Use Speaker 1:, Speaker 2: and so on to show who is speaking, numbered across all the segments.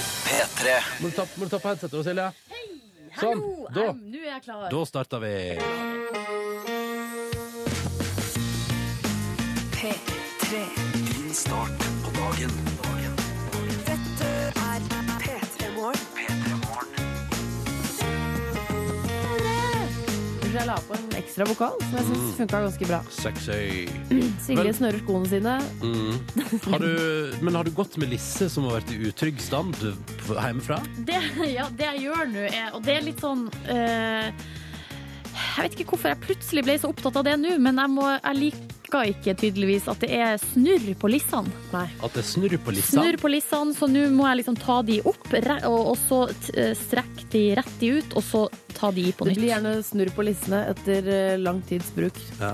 Speaker 1: P3.
Speaker 2: Må du ta, må du ta på headsetet, Silje? Sånn,
Speaker 3: Hallo!
Speaker 2: da.
Speaker 3: em, Nå er jeg klar.
Speaker 2: Da starter vi.
Speaker 4: P3.
Speaker 1: Din start på dagen. dagen.
Speaker 4: Dette er P3 Morgen.
Speaker 1: P3 Morgen.
Speaker 3: Kanskje jeg la på en ekstra vokal, som jeg syns funka ganske bra.
Speaker 2: Sexy. Mm.
Speaker 3: Silje
Speaker 2: Vel-
Speaker 3: snører skoene sine.
Speaker 2: Mm. Har du, men har du gått med Lisse, som har vært i utrygg stand f- hjemmefra?
Speaker 3: Det, ja, det jeg gjør nå, er Og det er litt sånn eh, Jeg vet ikke hvorfor jeg plutselig ble så opptatt av det nå, men jeg, må, jeg liker ikke tydeligvis at det er snurr på lissene. Nei.
Speaker 2: At det snurrer på Lissa?
Speaker 3: Snurr på lissene, så nå må jeg liksom ta de opp, re- og, og så t- eh, strekke de rett de ut, og så ta de i på
Speaker 5: Det
Speaker 3: nytt.
Speaker 5: blir gjerne snurr på lissene etter eh, lang tids bruk.
Speaker 3: Ja.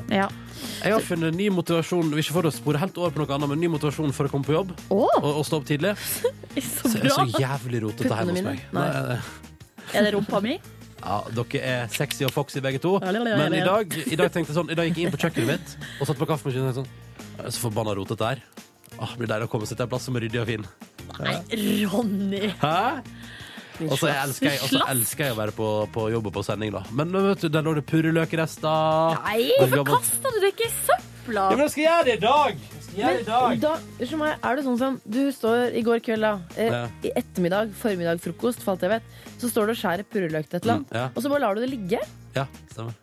Speaker 2: Jeg har funnet ny motivasjon ikke for å spore helt over på noe annet, men ny motivasjon for å komme på jobb
Speaker 3: Å,
Speaker 2: og, og stå opp tidlig.
Speaker 3: så
Speaker 2: Så,
Speaker 3: bra!
Speaker 2: så jævlig rotete
Speaker 5: Puttene
Speaker 2: hjemme hos
Speaker 5: mine?
Speaker 2: meg.
Speaker 5: Nei.
Speaker 2: Nei, nei.
Speaker 3: Er det rumpa mi?
Speaker 2: Ja, dere er sexy og foxy begge to, men i dag, i dag tenkte jeg sånn I dag gikk jeg inn på kjøkkenet mitt og satt på kaffemaskinen og tenkte sånn «Jeg er Så forbanna rotete det er. Åh, det blir deilig å komme seg til en plass som er ryddig og fin.
Speaker 3: Nei, Ronny!
Speaker 2: Hæ? Og så elsker jeg, og så
Speaker 3: Slask.
Speaker 2: elsker jeg å være på, på jobb og på sending, da. Men vet du, der lå det purreløkrester.
Speaker 3: Nei,
Speaker 2: Det er
Speaker 3: hvorfor
Speaker 2: gammelt.
Speaker 3: kasta du det ikke i søpla?
Speaker 2: Ja, men jeg skal gjøre det i dag! Jeg skal gjøre det i dag.
Speaker 5: Da, unnskyld meg, er det sånn som du står i går kveld, da. Eh,
Speaker 2: Ja.
Speaker 5: I ettermiddag, formiddag, frokost, for alt jeg vet. Så står du og skjærer purreløk til et eller annet.
Speaker 2: Mm, Ja,
Speaker 5: Og så bare lar du det ligge.
Speaker 2: ja, stemmer.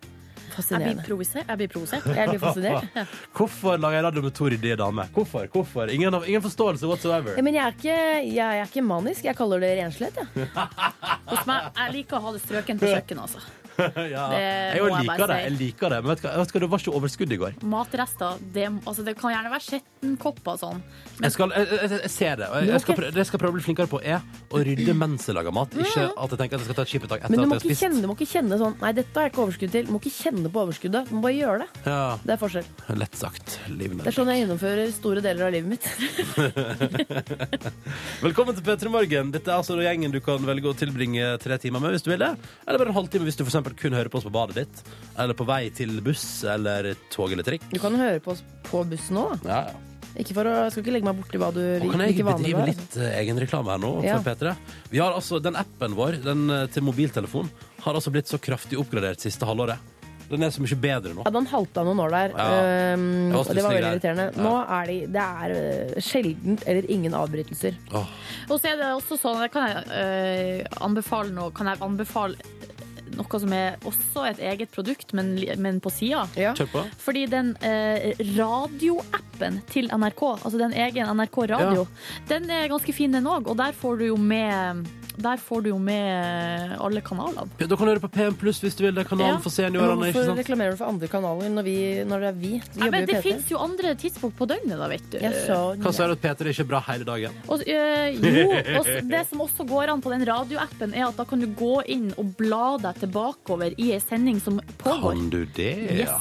Speaker 3: Jeg blir
Speaker 5: Fascinerende.
Speaker 3: provosert. Jeg blir provosert.
Speaker 5: Jeg blir fascinert.
Speaker 2: Hvorfor lager jeg radio med to ryddige damer? Hvorfor? Hvorfor? Ingen, ingen forståelse whatsoever.
Speaker 5: Ja, men jeg er, ikke, jeg er ikke manisk. Jeg kaller det renslett. Jeg.
Speaker 3: Hos meg, jeg liker å ha det strøken på kjøkkenet, altså.
Speaker 2: ja.
Speaker 3: det
Speaker 2: Jeg jo
Speaker 3: må jeg
Speaker 2: liker
Speaker 3: bare
Speaker 2: det.
Speaker 3: si.
Speaker 2: Jeg liker det. Men vet du hva, vet du hva, det var ikke overskudd i går.
Speaker 3: Matrester, det, altså, det kan gjerne være skjettenkopper og sånn.
Speaker 2: Jeg, skal, jeg, jeg, jeg- jeg ser det. og Jeg, jeg skal prøve, det jeg skal prøve å bli flinkere på, er å rydde mens jeg lager mat. Ikke at jeg tenker at jeg skal ta et skippertak etter
Speaker 5: Men du
Speaker 2: at jeg
Speaker 5: må,
Speaker 2: har
Speaker 5: ikke
Speaker 2: spist.
Speaker 5: kjenne, du må ikke kjenne sånn Nei, dette har jeg ikke overskudd til. Du må ikke kjenne på overskuddet. Du må bare gjøre det.
Speaker 2: Ja,
Speaker 5: Det er forskjell.
Speaker 2: lett sagt. Livet
Speaker 5: Det er sånn jeg gjennomfører store deler av livet mitt.
Speaker 2: Velkommen til P3 Morgen. Dette er altså gjengen du kan velge å tilbringe tre timer med hvis du vil det. Eller bare en halvtime hvis du for eksempel kun hører på oss på badet ditt. Eller på vei til buss eller tog eller trikk.
Speaker 5: Du kan høre på oss på bussen òg, da.
Speaker 2: Ja, ja.
Speaker 5: Ikke for å, jeg skal ikke legge meg borti hva du
Speaker 2: Og kan jeg
Speaker 5: hvilke vaner du
Speaker 2: bedrive
Speaker 5: har.
Speaker 2: litt eh, egenreklame her nå
Speaker 5: Ja.
Speaker 2: for P3? Vi har altså, Den appen vår den eh, til mobiltelefon har altså blitt så kraftig oppgradert siste halvåret. Den er så mye bedre nå.
Speaker 5: Ja, den halta noen år der,
Speaker 2: Ja.
Speaker 5: ehm,
Speaker 2: Det var
Speaker 5: og det var
Speaker 2: stusslige
Speaker 5: veldig
Speaker 2: greier.
Speaker 5: irriterende. Nå er de, det er eh, sjeldent eller ingen avbrytelser.
Speaker 2: Åh,
Speaker 3: Og så er det også sånn, det kan jeg eh, anbefale noe, kan jeg anbefale noe som er også et eget produkt, men, li- men på sida.
Speaker 5: Ja.
Speaker 2: kjør på.
Speaker 3: Fordi den eh, radioappen til NRK, altså den egen NRK Radio, den er ganske fin den òg. Og der får du jo med der får du jo med alle kanalene.
Speaker 2: Ja, Da kan du høre på PM Pluss hvis du vil. Det er kanalen
Speaker 3: Ja.
Speaker 2: for seniorene. ikke
Speaker 5: Hvorfor
Speaker 2: sant?
Speaker 5: reklamerer du for andre kanaler når, vi, når det er vi? Vi
Speaker 3: Nei,
Speaker 5: jobber
Speaker 3: men
Speaker 5: jo i
Speaker 3: det
Speaker 5: P3.
Speaker 3: fins jo andre tidspunkt på døgnet, da, vet du.
Speaker 5: Jeg så
Speaker 2: Eh, Hva sier du at P3 ikke er bra hele dagen?
Speaker 3: Og, øh, jo, og s- det som også går an på den radioappen, er at da kan du gå inn og bla deg tilbakeover i ei sending som pågår.
Speaker 2: Kan du det?
Speaker 3: Yes.
Speaker 2: ja?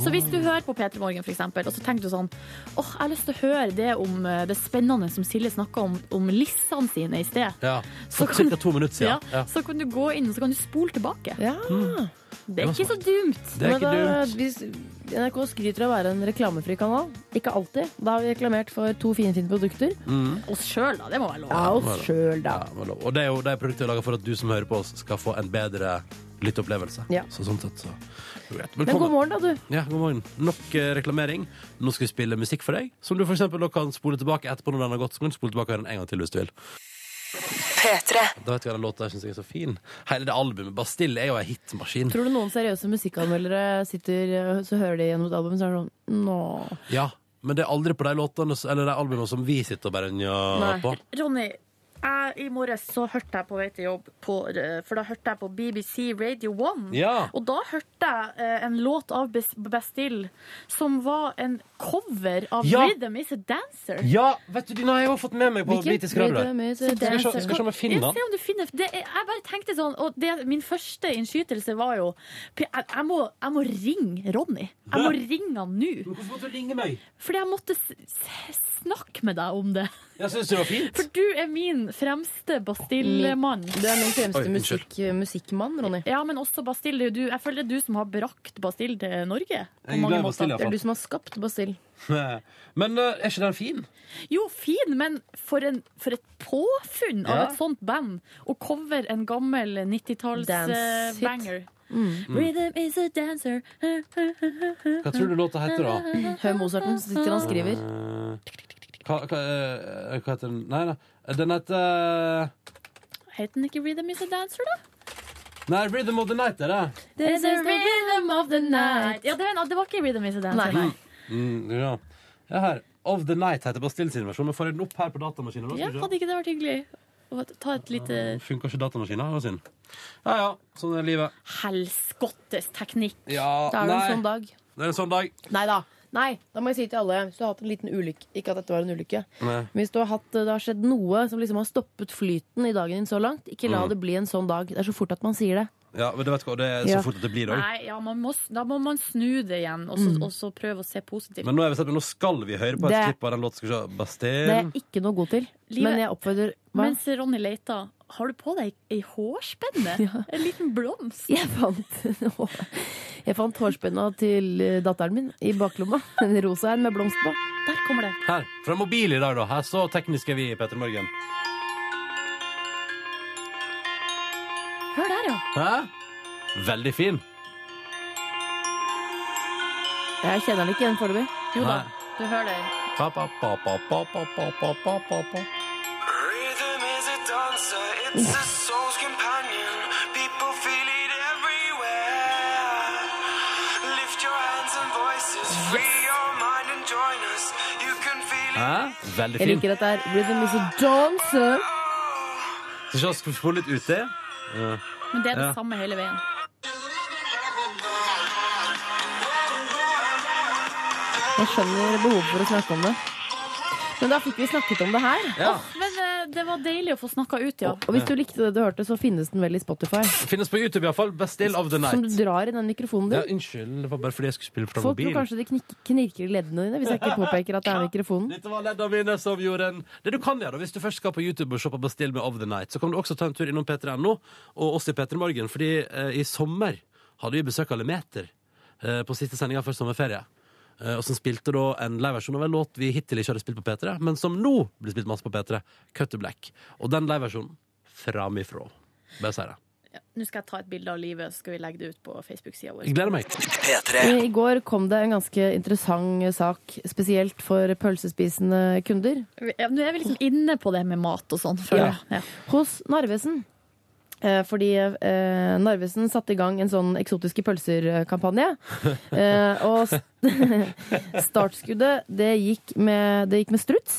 Speaker 3: Så hvis du hører på P3 Morgen, for eksempel, og så tenker du sånn åh, jeg har lyst til å høre det om eh, det spennende som Silje snakka om, om lissene sine i sted.
Speaker 2: Ja. For
Speaker 3: Så kan-
Speaker 2: ca. to minutter
Speaker 3: Ja,
Speaker 2: siden. Ja.
Speaker 3: Så kan du gå inn og så kan du spole tilbake.
Speaker 5: Ja,
Speaker 3: Det er ikke så dumt.
Speaker 2: Mm, Det er ikke
Speaker 5: men da,
Speaker 2: dumt.
Speaker 5: hvis NRK skryter av å være en reklamefri kanal. Ikke alltid. Da har vi reklamert for to finfine produkter.
Speaker 3: Oss sjøl, da. Det må være lov.
Speaker 5: Av oss sjøl,
Speaker 2: Ja,
Speaker 5: da.
Speaker 2: men lov. og det er jo de produktene vi lager for at du som hører på oss, skal få en bedre lytteopplevelse.
Speaker 5: Ja.
Speaker 2: Så sånn sett, så Greit.
Speaker 5: Men god
Speaker 2: Velkommen.
Speaker 5: morgen, da, du.
Speaker 2: Ja, god morgen. Nok eh, reklamering. Nå skal vi spille musikk for deg, som du for eksempel da kan spole tilbake etterpå når den har gått. Så kan du spole tilbake og høre den en gang til hvis du vil.
Speaker 4: P3.
Speaker 2: Da vet du hva den låta jeg syns er så fin. Hele det albumet. Bastille er jo ei hitmaskin.
Speaker 5: Tror du noen seriøse musikkanmeldere sitter eh, så hører de gjennom et album, så er det sånn Nå.
Speaker 2: Ja, men det er aldri på de låtene s- eller de albumene som vi sitter og bare nja
Speaker 5: Nei.
Speaker 2: på.
Speaker 3: Ronny, jeg, i morges så hørte jeg på vei til jobb, på, eh, for da hørte jeg på BBC Radio 1.
Speaker 2: Ja.
Speaker 3: Og da hørte jeg eh, en låt av Bes- Bastille som var en cover av
Speaker 2: Ja.
Speaker 3: Rhythm Is A Dancer.
Speaker 2: Ja, vet du, den har jeg jo fått med meg på
Speaker 5: Hvilken-
Speaker 2: britisk radio. der.
Speaker 5: Rhythm
Speaker 2: Skal
Speaker 5: is
Speaker 2: vi
Speaker 5: a
Speaker 2: se- skal vi se om jeg finner
Speaker 3: Ja,
Speaker 2: den?
Speaker 3: se om du finner det, er- Jeg bare tenkte sånn, og det, min første innskytelse var jo P- Jeg, jeg, må, jeg må ringe Ronny. Jeg må ringe han nå.
Speaker 2: Hvorfor måtte du ringe meg?
Speaker 3: Fordi jeg måtte s s snakke med deg om det.
Speaker 2: Jeg syns det var fint.
Speaker 3: For du er min min fremste Bastille-mann.
Speaker 5: Du er min fremste
Speaker 2: Oi, unnskyld.
Speaker 5: musikk, eh, musikkmann, Ronny.
Speaker 3: Ja, men også Bastille. det er jo Du, jeg føler det er du som har brakt Bastille til Norge. På
Speaker 2: Jeg er glad
Speaker 3: mange
Speaker 2: i Bastille,
Speaker 3: måter.
Speaker 5: Det er du som har skapt Bastille.
Speaker 2: Men eh, er ikke den fin?
Speaker 3: Jo, fin, men for, en, for et påfunn av
Speaker 2: Ja.
Speaker 3: et sånt band. Å cover en gammel 90-talls eh,
Speaker 5: Dance-hit.
Speaker 3: banger.
Speaker 2: Mm.
Speaker 3: Rhythm is a dancer.
Speaker 2: Hva tror du låta heter, da?
Speaker 5: Hør Mozarten, så sitter han og skriver.
Speaker 2: Eh, Hva, hva, eh, hva heter den? Nei, nei. Eh, Den heter eh,
Speaker 3: Heter den ikke Rhythm is a dancer, da?
Speaker 2: Nei, Rhythm of the Night er det.
Speaker 5: There's a
Speaker 3: rhythm of the night. Ja, det, var- det var ikke Rhythm is a dancer.
Speaker 5: Nei.
Speaker 2: Mm, ja. ja, her. Of the Night heter Bastille sin versjon. Men får jeg den opp her på datamaskinen? da?
Speaker 3: Ja,
Speaker 2: Skal vi se.
Speaker 3: hadde ikke det vært hyggelig? Å ta et lite
Speaker 2: Funker ikke datamaskinen? Det var synd. Ja ja, sånn er livet.
Speaker 3: helskottes teknikk.
Speaker 2: Ja,
Speaker 5: Da er det
Speaker 2: nei.
Speaker 5: en sånn dag.
Speaker 2: Det er en sånn dag.
Speaker 5: Nei da. Nei, da må jeg si til alle hvis du har hatt en liten ulykke Ikke at dette var en ulykke.
Speaker 2: Nei.
Speaker 5: Men Hvis du har hatt, det har skjedd noe som liksom har stoppet flyten i dagen din så langt, ikke
Speaker 2: Mm.
Speaker 5: la det bli en sånn dag. Det er så fort at man sier det.
Speaker 2: Ja, men du vet hva, det er så
Speaker 5: Ja.
Speaker 2: fort at det blir det òg.
Speaker 3: Nei, ja, man må, s- da må man snu det igjen, og så, og så prøve å se positivt.
Speaker 2: Mm. Men nå, er vi satt, men nå skal vi høre på et
Speaker 5: Det-
Speaker 2: klipp av den låta. Skal vi se.
Speaker 5: Det er
Speaker 2: Bastille.
Speaker 5: jeg ikke noe god til.
Speaker 3: Livet-
Speaker 5: Men jeg oppfordrer Hva?
Speaker 3: Mens Ronny leter, har du på deg ei hårspenne? En liten blomst?
Speaker 5: Jeg fant, jeg fant hårspenna til eh, datteren min i baklomma. En rosa en med blomst på.
Speaker 3: Der kommer det.
Speaker 2: Her, fra mobil i dag, da. Her så teknisk er vi, Petter Morgen.
Speaker 3: Hør der, ja.
Speaker 2: Hæ? Veldig fin.
Speaker 5: Jeg kjenner den ikke igjen foreløpig.
Speaker 3: Jo da,
Speaker 2: Nei.
Speaker 3: du hører det.
Speaker 2: Pa, pa, pa, pa, pa, pa, pa, pa, pa, pa, pa.
Speaker 6: Rhythm is a dancer, it's a soul's companion. People feel it everywhere. Lift your hands and voices, free your mind and join us. You can feel it.
Speaker 2: Hæ? Veldig fin.
Speaker 5: Jeg liker at det er Rhythm is a dancer.
Speaker 2: Skal vi se, skal vi få litt uti? Ja.
Speaker 3: Men det er det
Speaker 2: Ja.
Speaker 3: samme hele veien.
Speaker 5: Jeg skjønner behovet for å snakke om det. Men da fikk vi snakket om det her.
Speaker 2: ja.
Speaker 3: Men eh, det var deilig å få snakka ut, ja.
Speaker 5: Og hvis du likte det du hørte, så finnes den vel i Spotify.
Speaker 2: Finnes på YouTube, iallfall. Bestill of the
Speaker 5: Som
Speaker 2: night.
Speaker 5: du drar i den mikrofonen
Speaker 2: Ja,
Speaker 5: din.
Speaker 2: unnskyld, det var bare fordi jeg skulle spille fra
Speaker 5: Folk
Speaker 2: mobil.
Speaker 5: tror kanskje det knik- knirker i leddene dine hvis jeg ikke påpeker at det er mikrofonen.
Speaker 2: Dette var leddene mine som gjorde en Det du kan gjøre, da, hvis du først skal på YouTube og se på Bastille med Of The Night, så kan du også ta en tur innom P3.no og oss i P3 Morgen, fordi eh, i sommer hadde vi besøk av Lemeter eh, på siste sendinga før sommerferie. Eh, og som spilte da en liveversjon av en låt vi hittil ikke hadde spilt på P3, men som nå blir spilt masse på P3, Cut to Black. Og den liveversjonen framifrå. Bare si det.
Speaker 3: Nå skal jeg ta et bilde av livet, så skal vi legge det ut på Facebook-sida vår.
Speaker 2: Jeg gleder meg.
Speaker 5: I i går kom det en ganske interessant sak, spesielt for pølsespisende kunder.
Speaker 3: Ja, Nå er vi liksom inne på det med mat og sånn. føler jeg. Ja.
Speaker 5: Hos Narvesen. Eh, Fordi eh, Narvesen satte i gang en sånn eksotiske pølser-kampanje. Eh, og st- startskuddet, det gikk med, det gikk med struts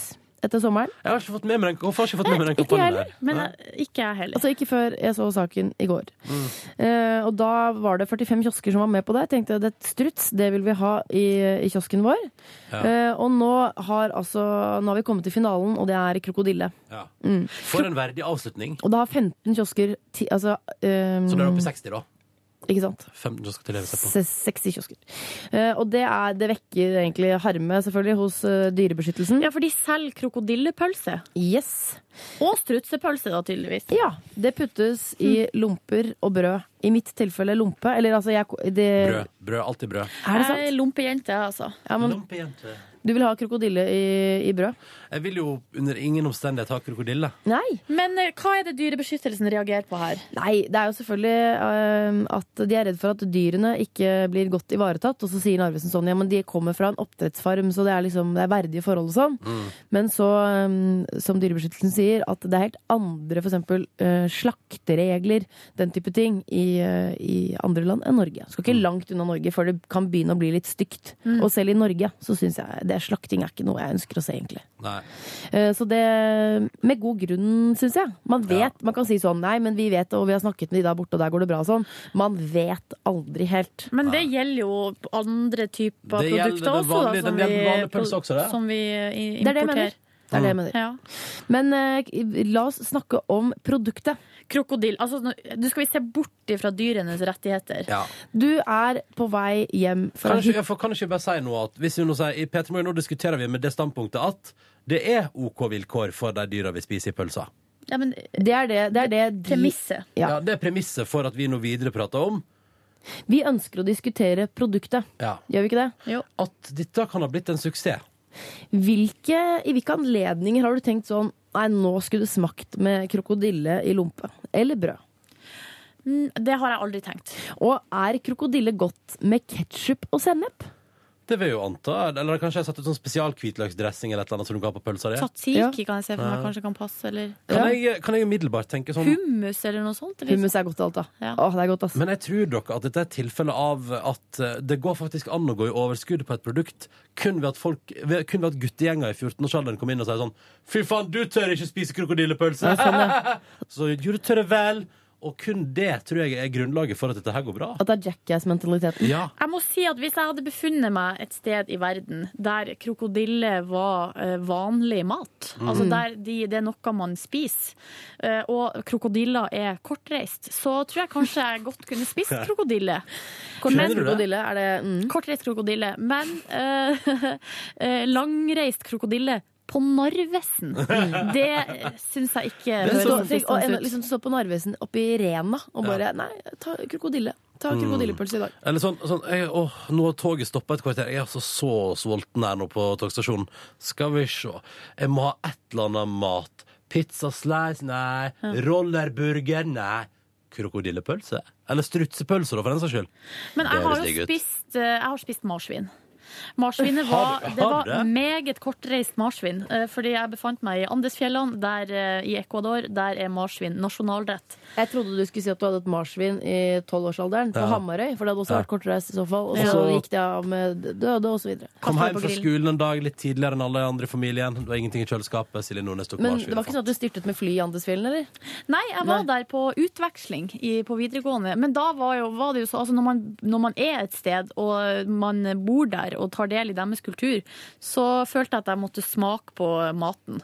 Speaker 5: etter sommeren.
Speaker 2: Jeg har ikke fått med meg den, hvorfor har jeg ikke fått med meg den
Speaker 5: Ikke jeg
Speaker 2: kampanjen
Speaker 5: heller,
Speaker 2: der.
Speaker 3: Men eh, ikke jeg heller.
Speaker 5: Altså ikke før jeg så saken i går.
Speaker 2: Mm.
Speaker 5: Eh, og da var det 45 kiosker som var med på det. Jeg tenkte det er struts, det vil vi ha i, i kiosken vår. Eh, og nå har, altså, nå har vi kommet til finalen, og det er krokodille.
Speaker 2: Ja.
Speaker 5: mm.
Speaker 2: For en verdig avslutning.
Speaker 5: Og da har 15 kiosker ti, Altså ehm,
Speaker 2: Så det er oppe i 60, da.
Speaker 5: Ikke sant?
Speaker 2: 15 som skal til å leve seg på.
Speaker 5: Se- 60 kiosker. Eh, og det, er, det vekker egentlig harme, selvfølgelig, hos eh, Dyrebeskyttelsen.
Speaker 3: Ja, for de selger krokodillepølse.
Speaker 5: Yes.
Speaker 3: Og strutsepølse, da, tydeligvis.
Speaker 5: Ja. Det puttes i lomper og brød. I mitt tilfelle lompe. Eller altså, jeg det,
Speaker 2: Brød. Brød. Alltid brød.
Speaker 5: Er det
Speaker 3: Jeg
Speaker 5: sant?
Speaker 3: er Lompejente, jeg, altså.
Speaker 5: Ja, men,
Speaker 2: Lampejente.
Speaker 5: du vil ha krokodille i, i brød?
Speaker 2: Jeg vil jo under ingen omstendighet ha krokodille.
Speaker 5: Nei.
Speaker 3: Men eh, hva er det dyrebeskyttelsen reagerer på her?
Speaker 5: Nei, det er jo selvfølgelig eh, at de er redd for at dyrene ikke blir godt ivaretatt. Og så sier Narvesen sånn ja, men de kommer fra en oppdrettsfarm, så det er liksom det er verdige forhold og sånn. Men så, eh, som Dyrebeskyttelsen sier, at det er helt andre f.eks. Uh, slakteregler, den type ting, i, eh, i andre land enn Norge. Skal ikke langt unna Norge før det kan begynne å bli litt stygt. Og selv i Norge så syns jeg det slakting er ikke noe jeg ønsker å se, egentlig.
Speaker 2: Nei.
Speaker 5: Eh, Så det med god grunn, syns jeg. Man vet,
Speaker 2: Ja.
Speaker 5: man kan si sånn nei, men vi vet, og vi har snakket med de der borte, og der går det bra og sånn. Man vet aldri helt.
Speaker 3: Men det gjelder jo andre typer
Speaker 2: Det gjelder
Speaker 3: produkter
Speaker 2: den
Speaker 3: også, da,
Speaker 2: vanlige- den
Speaker 3: som,
Speaker 2: gjelder den vanlige
Speaker 3: vi,
Speaker 2: pølse også, det.
Speaker 3: som vi i-
Speaker 5: Det er det jeg
Speaker 3: importerer.
Speaker 5: mener. Det er det jeg mener.
Speaker 3: Ja.
Speaker 5: Men eh, la oss snakke om produktet.
Speaker 3: Krokodill. Altså, nå- du skal vi se bort ifra dyrenes rettigheter.
Speaker 2: Ja.
Speaker 5: Du er på vei hjem fra
Speaker 2: Kan, ikke,
Speaker 5: hytta.
Speaker 2: jeg får- kan ikke jeg bare si noe at hvis vi nå sier, i Peter Morgen, nå diskuterer vi med det standpunktet at det er OK vilkår for de dyra vi spiser i pølsa.
Speaker 3: Ja, men eh,
Speaker 5: Det er det, det, er det de-
Speaker 3: premisset.
Speaker 5: Ja.
Speaker 2: Ja, det er premisset for at vi nå videre prater om
Speaker 5: Vi ønsker å diskutere produktet.
Speaker 2: ja.
Speaker 5: Gjør vi ikke det?
Speaker 3: Jo.
Speaker 2: at dette kan ha blitt en suksess.
Speaker 5: Hvilke, I hvilke anledninger har du tenkt sånn Nei, nå skulle det smakt med krokodille i lompe. Eller brød.
Speaker 3: Mm, Det har jeg aldri tenkt.
Speaker 5: Og er krokodille godt med ketsjup og sennep?
Speaker 2: Det vil jeg jo anta. Eller kanskje jeg har satt ut sånn spesialhvitløksdressing eller et eller annet som du kan ha på pølsa di.
Speaker 3: Tzatziki
Speaker 5: Ja.
Speaker 3: kan jeg se for meg kanskje kan passe, eller
Speaker 2: Kan, jeg- kan jeg umiddelbart tenke sånn
Speaker 3: hummus eller noe sånt. Eller?
Speaker 5: Hummus er godt til alt, da.
Speaker 3: Ja.
Speaker 5: Åh, det er godt, ass.
Speaker 2: Men jeg tror dere at dette er tilfellet av at eh, det går faktisk an å gå i overskudd på et produkt kun ved at, folk, ved, kun ved at guttegjenger i 14-årsalderen kommer inn og sier sånn Fy faen, du tør ikke spise krokodillepølse! Så jo, du tør det vel. Og kun det tror jeg er grunnlaget for at dette her går bra.
Speaker 5: At det er jackass-mentaliteten.
Speaker 2: Ja.
Speaker 3: Jeg må si at Hvis jeg hadde befunnet meg et sted i verden der krokodille var eh, vanlig mat, altså der de, det er noe man spiser, eh, og krokodiller er kortreist, så tror jeg kanskje jeg godt kunne spist krokodille.
Speaker 2: Mener du det?
Speaker 5: Krokodille, er det mm.
Speaker 3: Kortreist krokodille, men eh, eh, langreist krokodille på Narvesen, det syns jeg
Speaker 2: Det
Speaker 3: ikke
Speaker 2: er
Speaker 3: høres
Speaker 5: Stå,
Speaker 2: sånn-
Speaker 3: sånn
Speaker 5: tenk, å, en,
Speaker 3: fristende ut.
Speaker 5: liksom, stå på Narvesen oppe i Rena og bare Nei, ta krokodille. Ta krokodillepølse i dag.
Speaker 2: Eller sånn, sånn jeg, åh, Nå har toget stoppa et kvarter. Jeg er altså så sulten her nå på togstasjonen. Skal vi se. Jeg må ha et eller annet mat. Pizza slice? Nei. Rollerburger? Nei. Krokodillepølse? Eller strutsepølse, da, for den saks skyld.
Speaker 3: Men jeg
Speaker 2: Det
Speaker 3: har
Speaker 2: høres digg
Speaker 3: jo
Speaker 2: ut.
Speaker 3: spist, eh, jeg har spist marsvin. Marsvinet
Speaker 2: Har
Speaker 3: var,
Speaker 2: du- har
Speaker 3: det var
Speaker 2: du det?
Speaker 3: meget kortreist marsvin, eh, fordi jeg befant meg i Andesfjellene der, eh, i Ecuador. Der er marsvin nasjonalrett.
Speaker 5: Jeg trodde du skulle si at du hadde et marsvin i tolvårsalderen på
Speaker 2: Ja.
Speaker 5: Hamarøy, for det hadde også
Speaker 2: Ja.
Speaker 5: vært kortreist i så fall. Og
Speaker 2: Ja.
Speaker 5: så gikk det av med døde og så videre.
Speaker 2: Kom
Speaker 3: Kastet
Speaker 2: hjem
Speaker 3: på
Speaker 2: fra
Speaker 3: grillen.
Speaker 2: skolen en dag litt tidligere enn alle andre i familien. Det var ingenting i kjøleskapet. Silje Nordnes tok
Speaker 5: Men
Speaker 2: marsvin.
Speaker 5: det var ikke sånn at du styrtet med fly i Andesfjellen, eller?
Speaker 3: Nei, jeg var der på utveksling i, på videregående. Men da var, jo, var det jo så altså når, man, når man er et sted, og man bor der og tar del i deres kultur, så følte jeg at jeg måtte smake på maten.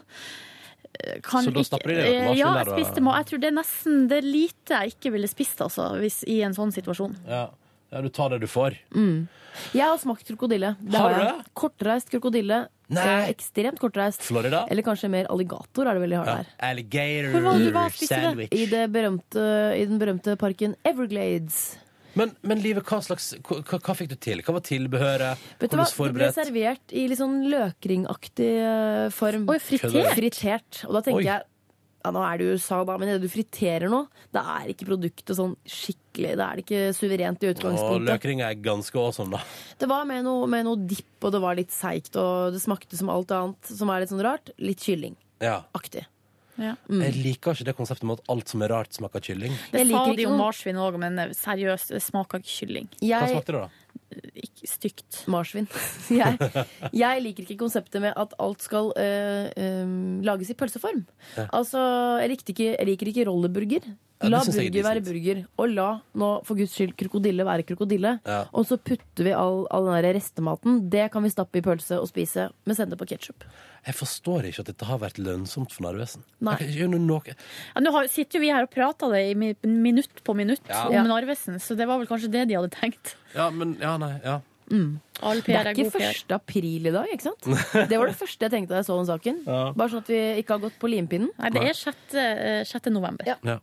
Speaker 3: Eh, kan
Speaker 2: Så da
Speaker 3: ikke-
Speaker 2: stapper de det i automaten
Speaker 3: Ja,
Speaker 2: der, eh,
Speaker 3: jeg
Speaker 2: da?
Speaker 3: spiste mat. Jeg tror det er nesten det er lite jeg ikke ville spist altså, hvis, i en sånn situasjon.
Speaker 2: Ja. Ja, du tar det du får.
Speaker 5: Mm. Jeg har smakt krokodille. Det
Speaker 2: Har
Speaker 5: har
Speaker 2: du
Speaker 5: jeg.
Speaker 2: det?
Speaker 5: Kortreist krokodille.
Speaker 2: Nei.
Speaker 5: Eh, Ekstremt kortreist.
Speaker 2: Florida?
Speaker 5: Eller kanskje mer alligator er det veldig hardt
Speaker 2: Ja.
Speaker 5: der.
Speaker 2: Alligator
Speaker 3: Hvor var det du var og spiste det?
Speaker 5: I,
Speaker 2: sandwich.
Speaker 5: det berømte, I den berømte parken Everglades.
Speaker 2: Men, men livet, hva, slags, hva, hva- hva fikk du til? Hva var tilbehøret?
Speaker 5: Vet du hva?
Speaker 2: Hvordan
Speaker 5: Det ble
Speaker 2: forberedt?
Speaker 5: servert i litt sånn løkringaktig eh, form.
Speaker 3: Oi, fritert?
Speaker 5: Fritert. Og da tenker
Speaker 2: Oi.
Speaker 5: jeg ja, nå er det jo USA, da, men det du friterer nå, da er ikke produktet sånn skikkelig Da er det ikke suverent i
Speaker 2: Og
Speaker 5: utgangspunktet.
Speaker 2: løkringa er ganske awesome, da.
Speaker 5: Det var med noe, med noe dipp, og det var litt seigt, og det smakte som alt annet som er litt sånn rart. Litt kyllingaktig.
Speaker 2: Ja.
Speaker 3: Ja.
Speaker 5: Mm.
Speaker 2: Jeg liker ikke det konseptet med at alt som er rart, smaker kylling.
Speaker 3: Det sa
Speaker 5: Jeg liker
Speaker 3: de om
Speaker 5: ikke noe-
Speaker 3: marsvin òg, men eh, seriøst, det smaker ikke kylling.
Speaker 2: Hva
Speaker 5: Jeg
Speaker 2: smakte det, da?
Speaker 3: Ikke stygt.
Speaker 5: Marsvin. Jeg, jeg liker ikke konseptet med at alt skal øh, øh, lages i pølseform. Altså, jeg, likte ikke, jeg liker ikke rolleburger.
Speaker 2: det
Speaker 5: La
Speaker 2: synes jeg er
Speaker 5: burger være
Speaker 2: decent.
Speaker 5: burger, og la nå for guds skyld krokodille være krokodille.
Speaker 2: Ja.
Speaker 5: Og så putter vi all, all den der restematen. Det kan vi stappe i pølse og spise, men sende på ketsjup.
Speaker 2: Jeg forstår ikke at dette har vært lønnsomt for Narvesen.
Speaker 5: Nei.
Speaker 2: Jeg kan ikke gjøre noe.
Speaker 3: Ja, nå har, sitter jo vi her og prater det i mi- minutt på minutt
Speaker 2: Ja.
Speaker 3: om
Speaker 5: Ja.
Speaker 3: Narvesen, så det var vel kanskje det de hadde tenkt.
Speaker 2: Ja, men Ja, nei. Ja.
Speaker 3: All
Speaker 5: Det
Speaker 3: PR
Speaker 5: er
Speaker 3: er
Speaker 5: ikke
Speaker 3: god PR.
Speaker 5: 1. april i dag, ikke sant? Det var det første jeg tenkte da jeg så den saken. Bare sånn at vi ikke har gått på limpinnen.
Speaker 3: Nei, det er 6. eh, 6. november.
Speaker 5: Ja.
Speaker 2: ja.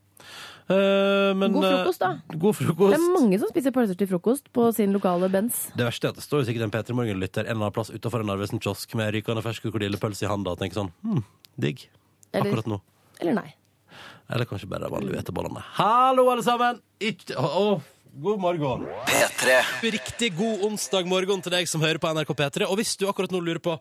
Speaker 2: Eh, men,
Speaker 5: God frokost, da.
Speaker 2: eh, God
Speaker 5: Det
Speaker 2: frokost.
Speaker 5: er mange som spiser pølser til frokost på sin lokale Benz.
Speaker 2: Det verste er at det står jo sikkert en Peter Morgen-lytter en eller annen plass utenfor en Narvesen-kiosk med rykende fersk krokodillepølse i handa og tenker sånn hm, digg.
Speaker 5: Eller-
Speaker 2: Akkurat nå.
Speaker 5: Eller nei.
Speaker 2: Eller kanskje bare de vanlige hvetebollene. Hallo, alle sammen! Ikke Å, å, god morgen.
Speaker 1: P3
Speaker 2: Riktig god onsdag morgen til deg som hører på NRK P3. Og hvis du akkurat nå lurer på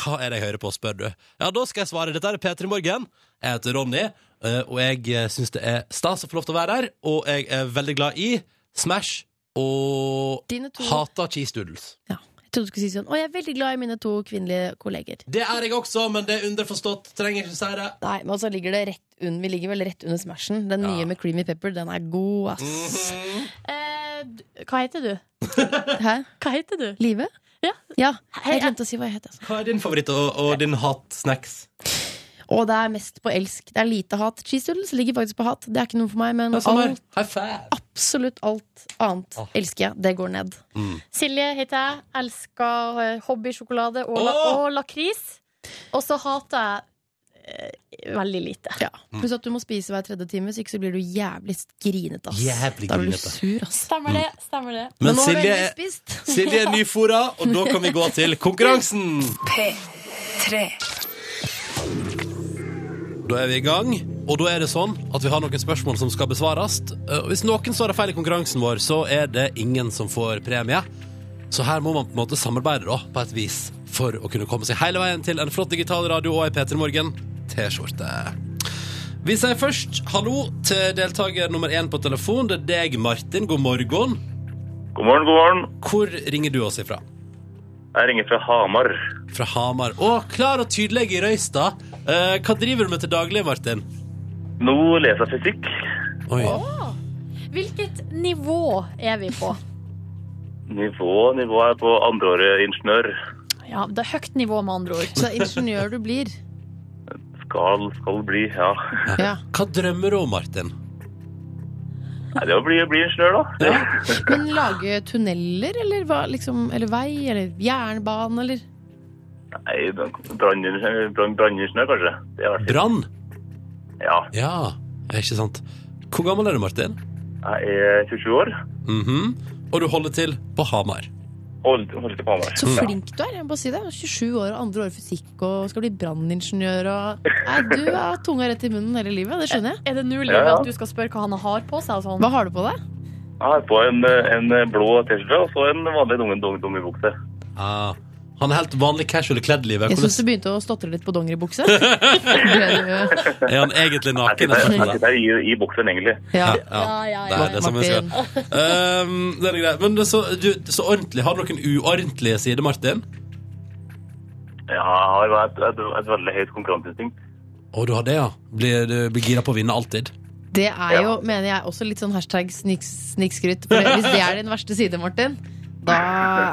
Speaker 2: hva er det jeg hører på, spør du. Ja, da skal jeg svare. Dette er P3 Morgen. Jeg heter Ronny, eh, og jeg syns det er stas å få lov til å være her. Og jeg er veldig glad i Smash og
Speaker 5: Dine to-
Speaker 2: hater cheese doodles.
Speaker 5: Ja. Jeg trodde du skulle si sånn Å, jeg er veldig glad i mine to kvinnelige kolleger.
Speaker 2: Det er jeg også, men det er underforstått. Trenger ikke si det.
Speaker 5: Nei, men altså ligger det rett under Vi ligger vel rett under Smashen. Den nye med Creamy Pepper, den er god, ass.
Speaker 2: Mhm.
Speaker 3: Eh, d- hva heter du?
Speaker 5: Hæ?
Speaker 3: Hva heter du?
Speaker 5: Live?
Speaker 3: Ja.
Speaker 5: Ja.
Speaker 3: Hei,
Speaker 5: Jeg glemte å si hva jeg het. Altså.
Speaker 2: Hva er din favoritt og, og din hat-snacks?
Speaker 5: Og det er mest på elsk. Det er lite hat. Cheese doodles ligger faktisk på hat. Det er ikke noe for meg, men
Speaker 2: Ja, sånn samme her.
Speaker 5: alt,
Speaker 2: High five!
Speaker 5: absolutt alt annet
Speaker 2: Ah.
Speaker 5: elsker jeg. Det går ned.
Speaker 3: Silje heter jeg. Elsker eh, hobbysjokolade og, la
Speaker 2: Åh!
Speaker 3: og lakris. Og så hater jeg eh, veldig lite.
Speaker 5: Ja.
Speaker 2: Mm.
Speaker 5: Pluss at du må spise hver tredje time, så ikke så blir du jævlig grinete. Ass.
Speaker 2: Jævlig
Speaker 5: da blir du
Speaker 2: grinete.
Speaker 5: sur, ass.
Speaker 3: Stemmer det. stemmer det
Speaker 2: Men
Speaker 5: nå har du
Speaker 2: Silje,
Speaker 5: endelig spist.
Speaker 2: Silje er nyfora, og da kan vi gå til konkurransen.
Speaker 4: P3.
Speaker 2: Da er vi i gang, og da er det sånn at vi har noen spørsmål som skal besvares. Eh, og Hvis noen svarer feil i konkurransen vår, så er det ingen som får premie. Så her må man på en måte samarbeide da, på et vis for å kunne komme seg hele veien til en flott digital radio og ei P3 Morgen T-skjorte. Vi sier først hallo til deltaker nummer én på telefon. Det er deg, Martin. God morgen.
Speaker 7: God morgen, god morgen.
Speaker 2: Hvor ringer du oss ifra?
Speaker 7: Jeg ringer fra Hamar.
Speaker 2: Fra Hamar. Å, klar og tydelig i Røystad. Eh, hva driver du med til daglig, Martin?
Speaker 7: Nå leser jeg fysikk.
Speaker 2: Oi.
Speaker 3: Hvilket nivå er vi på?
Speaker 7: Nivå, nivå er på andreåret ingeniør.
Speaker 3: Ja, det er høyt nivå, med andre ord.
Speaker 5: Så det er ingeniør du blir.
Speaker 7: Skal, skal bli, ja.
Speaker 5: Ja.
Speaker 2: Hva drømmer du om, Martin?
Speaker 7: Nei, det å bli, bli ingeniør, da.
Speaker 5: Men lage tunneler, eller, hva, liksom, eller vei, eller jernbane, eller
Speaker 7: Nei, branningeniør, brann- branningeniør kanskje. Det har vært fint.
Speaker 2: Brann?
Speaker 7: Ja,
Speaker 2: Ja, det er ikke sant. Hvor gammel er du, Martin?
Speaker 7: jeg er 27 år
Speaker 2: Mhm. Og du holder til på Hamar.
Speaker 7: og holder til på Hamar.
Speaker 5: Så flink du er! Jeg må bare si det. 27 år og andre år fysikk og skal bli branningeniør og Nei, du har tunga rett i munnen hele livet. Det skjønner jeg.
Speaker 3: Er det nå
Speaker 7: Ja,
Speaker 3: livet
Speaker 7: ja.
Speaker 3: at du skal spørre hva han har på seg? og sånn?
Speaker 5: Hva har du på deg?
Speaker 7: Jeg har på en, en blå T-skjorte og så en vanlig dum- dum- gummibukse.
Speaker 2: Ah, han er helt vanlig casual kledd, livet.
Speaker 5: Jeg
Speaker 2: Hvordan
Speaker 5: syns du begynte å stotre litt på dongeribukse. Ja,
Speaker 2: er han egentlig
Speaker 7: Jeg
Speaker 2: naken? Jeg
Speaker 7: sitter jeg
Speaker 2: skjønner det.
Speaker 7: sitter her i, i buksen, egentlig.
Speaker 5: ja,
Speaker 3: Ja, ja,
Speaker 2: Det
Speaker 3: ja.
Speaker 2: er det som jeg skal.
Speaker 5: Martin.
Speaker 2: Um, det er greit. Men det er så, du, så ordentlig. Har du noen uordentlige sider, Martin?
Speaker 7: Ja, jeg har et, et, et veldig høyt konkurranseinstinkt.
Speaker 2: Å, du har det, ja. Blir du blir gira på å vinne alltid?
Speaker 5: Det er jo, mener jeg, også litt sånn hashtag snik- snikskryt. For hvis det er din verste side, Martin, da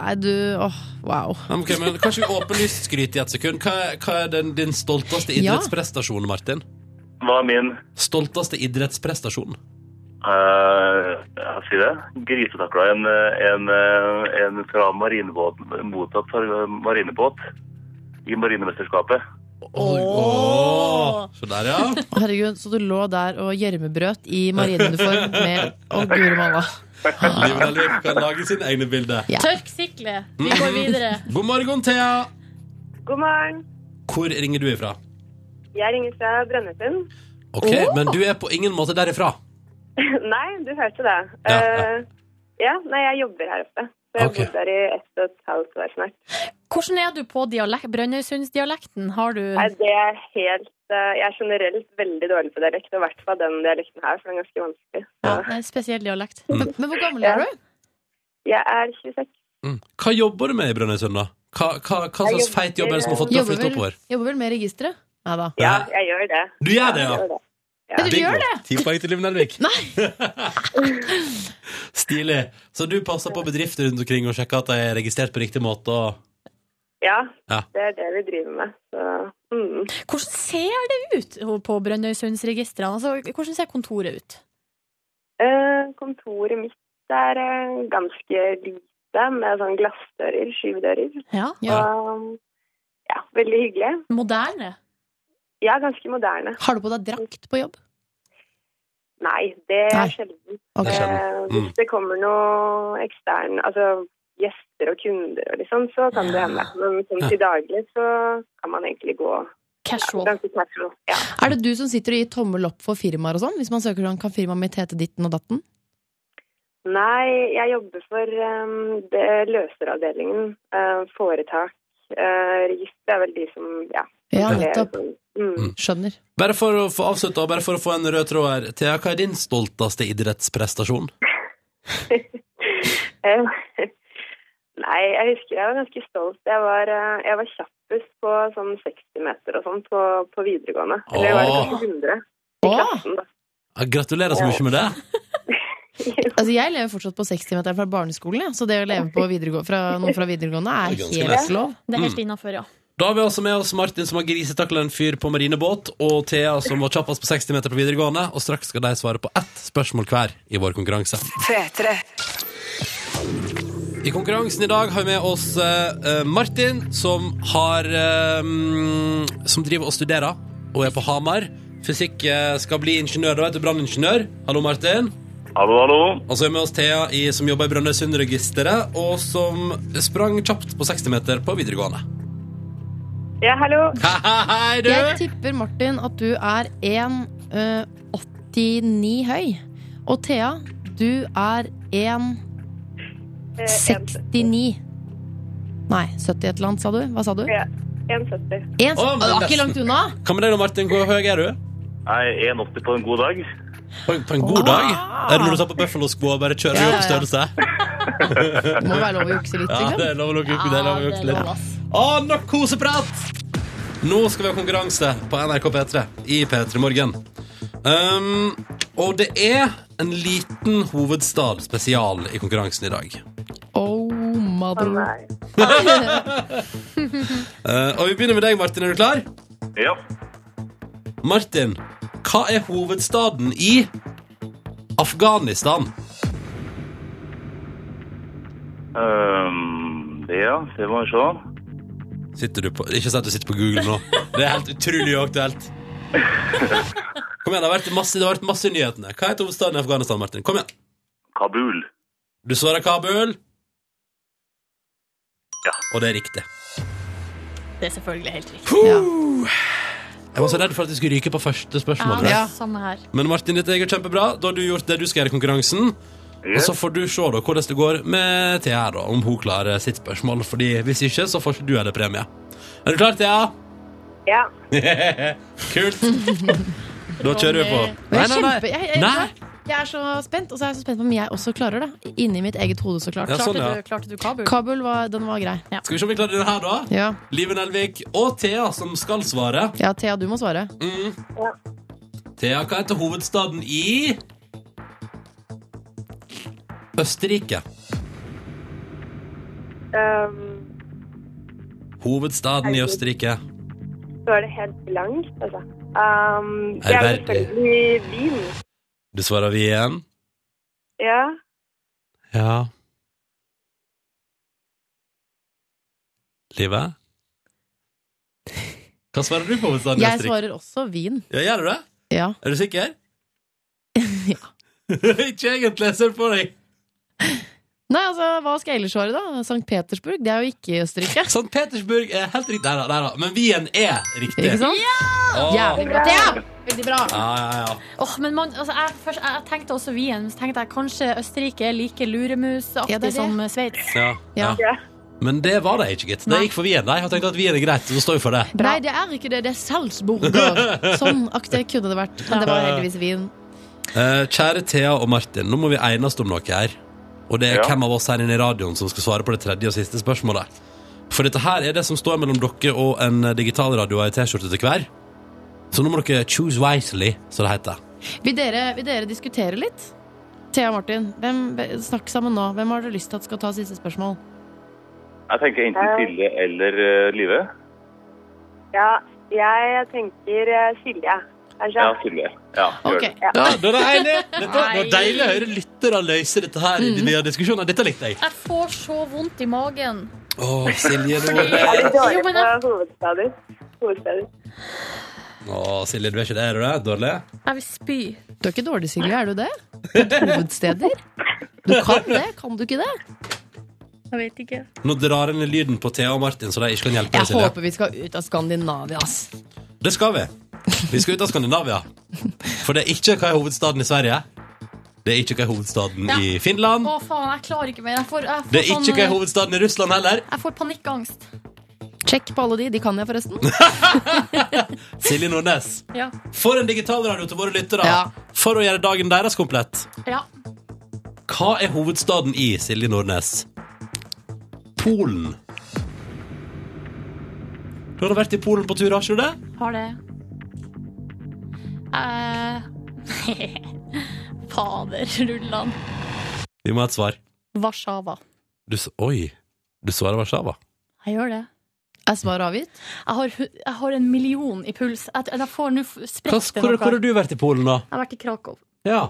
Speaker 5: er du åh, wow.
Speaker 2: Ja, men ok, men Kanskje vi åpenlyst skryter i ett sekund. Hva, er- hva er den, din stolteste
Speaker 5: Ja.
Speaker 2: idrettsprestasjon, Martin?
Speaker 7: Hva er min
Speaker 2: Stolteste idrettsprestasjon?
Speaker 7: Eh, jeg sier det. Grisetakla en, en, en fra marinebåten, mottatt fra marinebåt i marinemesterskapet.
Speaker 2: Oi, åh. Så der, ja.
Speaker 5: Herregud, så du lå der og gjørmebrøt i marineuniform med Å, guri malla.
Speaker 2: Liv Nelvik kan lage sine egne bilder.
Speaker 5: Ja.
Speaker 3: Tørk sikle. Vi går videre.
Speaker 2: God morgen, Thea.
Speaker 8: God morgen.
Speaker 2: Hvor ringer du ifra?
Speaker 8: Jeg ringer fra Brønnøysund.
Speaker 2: Ok, Men du er på ingen måte derifra.
Speaker 8: nei, du hørte det.
Speaker 2: Ja,
Speaker 8: Eh, ja, nei, jeg jobber her oppe. Så jeg har
Speaker 2: Ok.
Speaker 8: bodd her i ett og et halvt år snart.
Speaker 3: Hvordan er du på dialek- Brønnøysundsdialekten? Har du
Speaker 8: Nei, det er helt eh, Jeg er generelt veldig dårlig på dialekt, og i hvert fall den dialekten her, for den er ganske vanskelig. Så
Speaker 3: Ja, det er en spesiell dialekt?
Speaker 5: Men, men hvor gammel er du?
Speaker 8: jeg er 26.
Speaker 2: Mm. Hva jobber du med i Brønnøysund, da? Hva, hva, hva
Speaker 8: Jeg
Speaker 2: slags feit jobb er det som har fått deg å
Speaker 5: Jobber
Speaker 2: flytte
Speaker 5: vel,
Speaker 2: oppover?
Speaker 5: jobber vel med registeret? Nei da.
Speaker 8: Ja, jeg gjør det.
Speaker 2: Du gjør det,
Speaker 8: Jeg
Speaker 2: ja?
Speaker 8: gjør det.
Speaker 5: Men du
Speaker 2: Bingo.
Speaker 5: gjør det!
Speaker 2: Ti poeng til Liv Nelvik. Stilig. Så du passer på bedrifter rundt omkring og sjekker at de er registrert på riktig måte? Og...
Speaker 8: Ja,
Speaker 2: Ja.
Speaker 8: det er det vi driver med. Så, mm.
Speaker 3: Hvordan ser det ut på Brønnøysundsregistrene? Altså, hvordan ser kontoret ut?
Speaker 8: Eh, kontoret mitt er eh, ganske lite, med sånn glassdører, skyvedører.
Speaker 3: Ja,
Speaker 5: Ja.
Speaker 8: Og, ja, veldig hyggelig.
Speaker 3: Moderne.
Speaker 8: Jeg er ganske moderne.
Speaker 5: Har du på deg drakt på jobb?
Speaker 8: Nei, det
Speaker 5: Nei.
Speaker 8: er sjelden.
Speaker 5: Ok.
Speaker 2: Det er sjelden.
Speaker 8: Eh,
Speaker 2: Mm.
Speaker 8: hvis det kommer noe ekstern, altså gjester og kunder og litt sånn, så kan det hende. Men sånn til daglig så kan man egentlig gå
Speaker 3: Casual.
Speaker 8: ganske casual. Ja.
Speaker 5: Er det du som sitter og gir tommel opp for firmaer og sånn? Hvis man søker sånn, kan firmaet mitt hete ditten og datten?
Speaker 8: Nei, jeg jobber for eh, det løseravdelingen. eh, foretak. Uh, Register er vel de som ja.
Speaker 5: Ja,
Speaker 8: det er
Speaker 5: nettopp.
Speaker 8: sånn. Mm.
Speaker 5: Skjønner.
Speaker 2: Bare for å få avslutta, bare for å få en rød tråd her. Thea, hva er din stolteste idrettsprestasjon?
Speaker 8: Eh, Nei, jeg husker jeg var ganske stolt. Jeg var, eh, jeg var kjappest på sånn 60 meter og sånn på, på videregående. Eller var det
Speaker 2: Åh.
Speaker 8: kanskje 100 i
Speaker 5: Åh!
Speaker 8: klassen, da.
Speaker 2: Ja, Gratulerer så mye med det.
Speaker 5: Altså, jeg lever fortsatt på 60-meteren fra barneskolen, jeg, så det å leve på videregå- fra noen fra
Speaker 2: Det
Speaker 5: videregående er
Speaker 2: er ganske lett.
Speaker 5: helt lov.
Speaker 3: Det er
Speaker 2: Mm.
Speaker 3: helt innafor, ja.
Speaker 2: Da har vi altså med oss Martin som har grisetakla en fyr på marinebåt, og Thea som var kjappest på 60 meter på videregående, og straks skal de svare på ett spørsmål hver i vår konkurranse.
Speaker 4: P3.
Speaker 2: I konkurransen i dag har vi med oss eh, eh, Martin, som har eh, mm, Som driver og studerer Hun er på Hamar. Fysikk eh, skal bli ingeniør. Da vet du branningeniør. Hallo, Martin.
Speaker 7: Hallo, hallo.
Speaker 2: Og så er med oss Thea, i, som jobber i Brønnøysundregisteret, og som sprang kjapt på 60-meter på videregående.
Speaker 8: Ja, hallo.
Speaker 2: Hei, du!
Speaker 5: Jeg tipper, Martin, at du er 1,89 høy. Og Thea, du er 1,69.
Speaker 8: Eh,
Speaker 5: Nei, 70 et eller annet, sa du? Hva sa du?
Speaker 8: en- ja, 1,70.
Speaker 5: En,
Speaker 2: Å, men
Speaker 5: det var ikke
Speaker 2: nesten.
Speaker 5: langt unna!
Speaker 2: Hva med deg nå, Martin? Hvor høy er du?
Speaker 7: Jeg er 1,80 på en god dag.
Speaker 2: På, på en god dag? Er det når du tar på bøffelosko og bare kjører
Speaker 5: Ah. Ja,
Speaker 2: opp
Speaker 5: ja, ja.
Speaker 2: størrelse?
Speaker 5: Det må være lov å jukse litt.
Speaker 2: Ja,
Speaker 5: Liksom.
Speaker 2: det er lov å lukke det er lov å lukke
Speaker 3: Ah,
Speaker 5: Ja, det er
Speaker 2: litt.
Speaker 5: lov, ass.
Speaker 2: Å, nok koseprat! Nå skal vi ha konkurranse på NRK P3 i P3 Morgen. Um, og det er en liten hovedstad spesial i konkurransen i dag.
Speaker 5: Oh,
Speaker 8: Å
Speaker 2: Mm.
Speaker 5: mother.
Speaker 8: nei.
Speaker 2: Eh, og vi begynner med deg, Martin. Er du klar?
Speaker 7: Ja.
Speaker 2: Martin, hva er hovedstaden i Afghanistan?
Speaker 7: Ehm, det, ja. Det må vi se.
Speaker 2: Sitter du på Ikke si at du sitter på Google nå. Det er helt utrolig uaktuelt. Kom igjen, det har vært masse, det har vært masse i nyhetene. Hva heter hovedstaden i Afghanistan, Martin? Kom igjen.
Speaker 7: Kabul.
Speaker 2: Du svarer Kabul.
Speaker 7: Ja.
Speaker 2: Og det er riktig.
Speaker 3: Det er selvfølgelig helt riktig.
Speaker 2: Jeg var så redd for at vi skulle ryke på første spørsmål.
Speaker 3: Ja,
Speaker 5: Ja.
Speaker 3: samme her.
Speaker 2: Men Martin, dette er kjempebra. Da har du gjort det du skal gjøre i konkurransen. Og så får du se da hvordan det går med Thea, da, om hun klarer sitt spørsmål. Fordi Hvis ikke, så får ikke du heller premie. Er du klar, Thea?
Speaker 8: Ja.
Speaker 2: Kult. Da kjører vi på.
Speaker 5: Men jeg er kjempe- jeg- jeg-
Speaker 2: Nei.
Speaker 5: Jeg er så spent, og så er jeg så spent på om jeg også klarer det. Inni mitt eget hode, så klart.
Speaker 2: Ja, sånn,
Speaker 5: Klarte
Speaker 2: ja.
Speaker 5: du-
Speaker 3: Klarte du Kabul?
Speaker 5: Kabul var, den var grei. Ja.
Speaker 2: Skal vi se om vi klarer denne her, da?
Speaker 5: Ja.
Speaker 2: Live Nelvik og Thea, som skal svare.
Speaker 5: Thea, du må svare.
Speaker 2: Mm.
Speaker 8: Ja.
Speaker 2: Thea, hva heter hovedstaden i Østerrike.
Speaker 8: Ehm,
Speaker 2: Hovedstaden i Østerrike.
Speaker 8: så er det helt blankt, altså. Ehm, det
Speaker 2: Er
Speaker 8: er vel
Speaker 2: det verdig?
Speaker 8: selvfølgelig Wien.
Speaker 2: Du svarer vi igjen?
Speaker 8: Ja.
Speaker 2: Ja. Live? Hva svarer du på hovedstaden i
Speaker 5: Jeg
Speaker 2: Østerrike?
Speaker 5: svarer også Wien.
Speaker 2: Ja, gjør du det?
Speaker 5: Ja.
Speaker 2: Er du sikker? Ikke egentlig, jeg ser på deg.
Speaker 5: Nei, altså, hva skal jeg ellers svare, da? St. Petersburg? Det er jo ikke i Østerrike.
Speaker 2: St. Sånn, Petersburg er helt riktig. Nei da, nei da. Men Wien er riktig.
Speaker 5: Ikke sant?
Speaker 2: Åh.
Speaker 5: Jævlig bra, Thea! Veldig bra.
Speaker 2: Ja, ja, ja.
Speaker 3: Åh, men man, altså, jeg, først, jeg tenkte også Wien, men så tenkte jeg kanskje Østerrike er like luremusaktig
Speaker 5: Ja, det er det.
Speaker 3: som eh, Sveits.
Speaker 2: Ja,
Speaker 5: Ja.
Speaker 8: Ja.
Speaker 2: Men det var det ikke, gitt. Det
Speaker 3: Nei.
Speaker 2: gikk for Wien. Nei, jeg har tenkt at Wien er greit, så står vi for det.
Speaker 5: Nei, det er ikke det. Det er Salzburger. Sånn aktig kunne det vært. Men det var heldigvis Wien.
Speaker 2: Eh, kjære Thea og Martin, nå må vi enes om noe her. Og det er
Speaker 7: Ja.
Speaker 2: hvem av oss her inne i radioen som skal svare på det tredje og siste spørsmålet. For dette her er det som står mellom dere og en digitalradio og ei T-skjorte til hver. Så nå må dere choose wisely, som det heter.
Speaker 5: Vil dere, vil dere diskutere litt? Thea og Martin, hvem, snakk sammen nå. Hvem har dere lyst til at skal ta siste spørsmål?
Speaker 7: Jeg tenker enten Silje eller eh, Live.
Speaker 8: ja. Jeg tenker eh, Silje, kanskje.
Speaker 7: Ja, Silje. Ja, gjør
Speaker 5: Ok.
Speaker 7: det.
Speaker 2: Ja, da er det enig. Dette det var deilig å høre lyttere løse dette her via diskusjoner. Dette likte jeg.
Speaker 3: Jeg får så vondt i magen.
Speaker 2: Å, Silje, du er
Speaker 8: Jeg er litt dårlig
Speaker 3: Jo, men jeg-
Speaker 8: på hovedstader. hovedstader.
Speaker 2: Å, Silje, du er ikke det, er du det? Dårlig?
Speaker 3: Jeg vil spy.
Speaker 5: Du er ikke dårlig, Silje, er du det? Hovedsteder? Du kan det, kan du ikke det?
Speaker 3: Jeg vet ikke.
Speaker 2: Nå drar en i lyden på Thea og Martin, så de ikke kan hjelpe
Speaker 5: Jeg
Speaker 2: deg, Silje.
Speaker 5: håper vi skal ut av Skandinavia, ass.
Speaker 2: Det skal vi. Vi skal ut av Skandinavia. For det er ikke hva er hovedstaden i Sverige. Det er ikke hva er hovedstaden
Speaker 3: Ja.
Speaker 2: i Finland.
Speaker 3: Å, faen, jeg klarer ikke mer. Jeg får, jeg får,
Speaker 2: Det er ikke hva er
Speaker 3: sånn,
Speaker 2: hovedstaden i Russland heller.
Speaker 3: jeg får panikkangst.
Speaker 5: Sjekk på alle de. De kan jeg, forresten.
Speaker 2: Silje Nordnes.
Speaker 3: Ja.
Speaker 2: For en digitalradio til våre lyttere.
Speaker 5: Ja.
Speaker 2: For å gjøre dagen deres komplett.
Speaker 3: ja.
Speaker 2: Hva er hovedstaden i, Silje Nordnes? Polen. Du har da vært i Polen på tur, har ikke du det?
Speaker 3: Har det. Eh, Fader, rullan.
Speaker 2: Vi må ha et svar.
Speaker 3: Warszawa.
Speaker 2: Du, s- oi. Du svarer Warszawa.
Speaker 3: Jeg gjør det.
Speaker 5: Er svaret avgitt?
Speaker 3: Jeg har, hu- jeg har en million i puls. Jeg, jeg får nå f-
Speaker 2: Hva,
Speaker 3: spredt det
Speaker 2: hvor,
Speaker 3: noe.
Speaker 2: hvor har
Speaker 3: Jeg
Speaker 2: du vært i Polen, da?
Speaker 3: har vært i Krakow.
Speaker 2: Ja.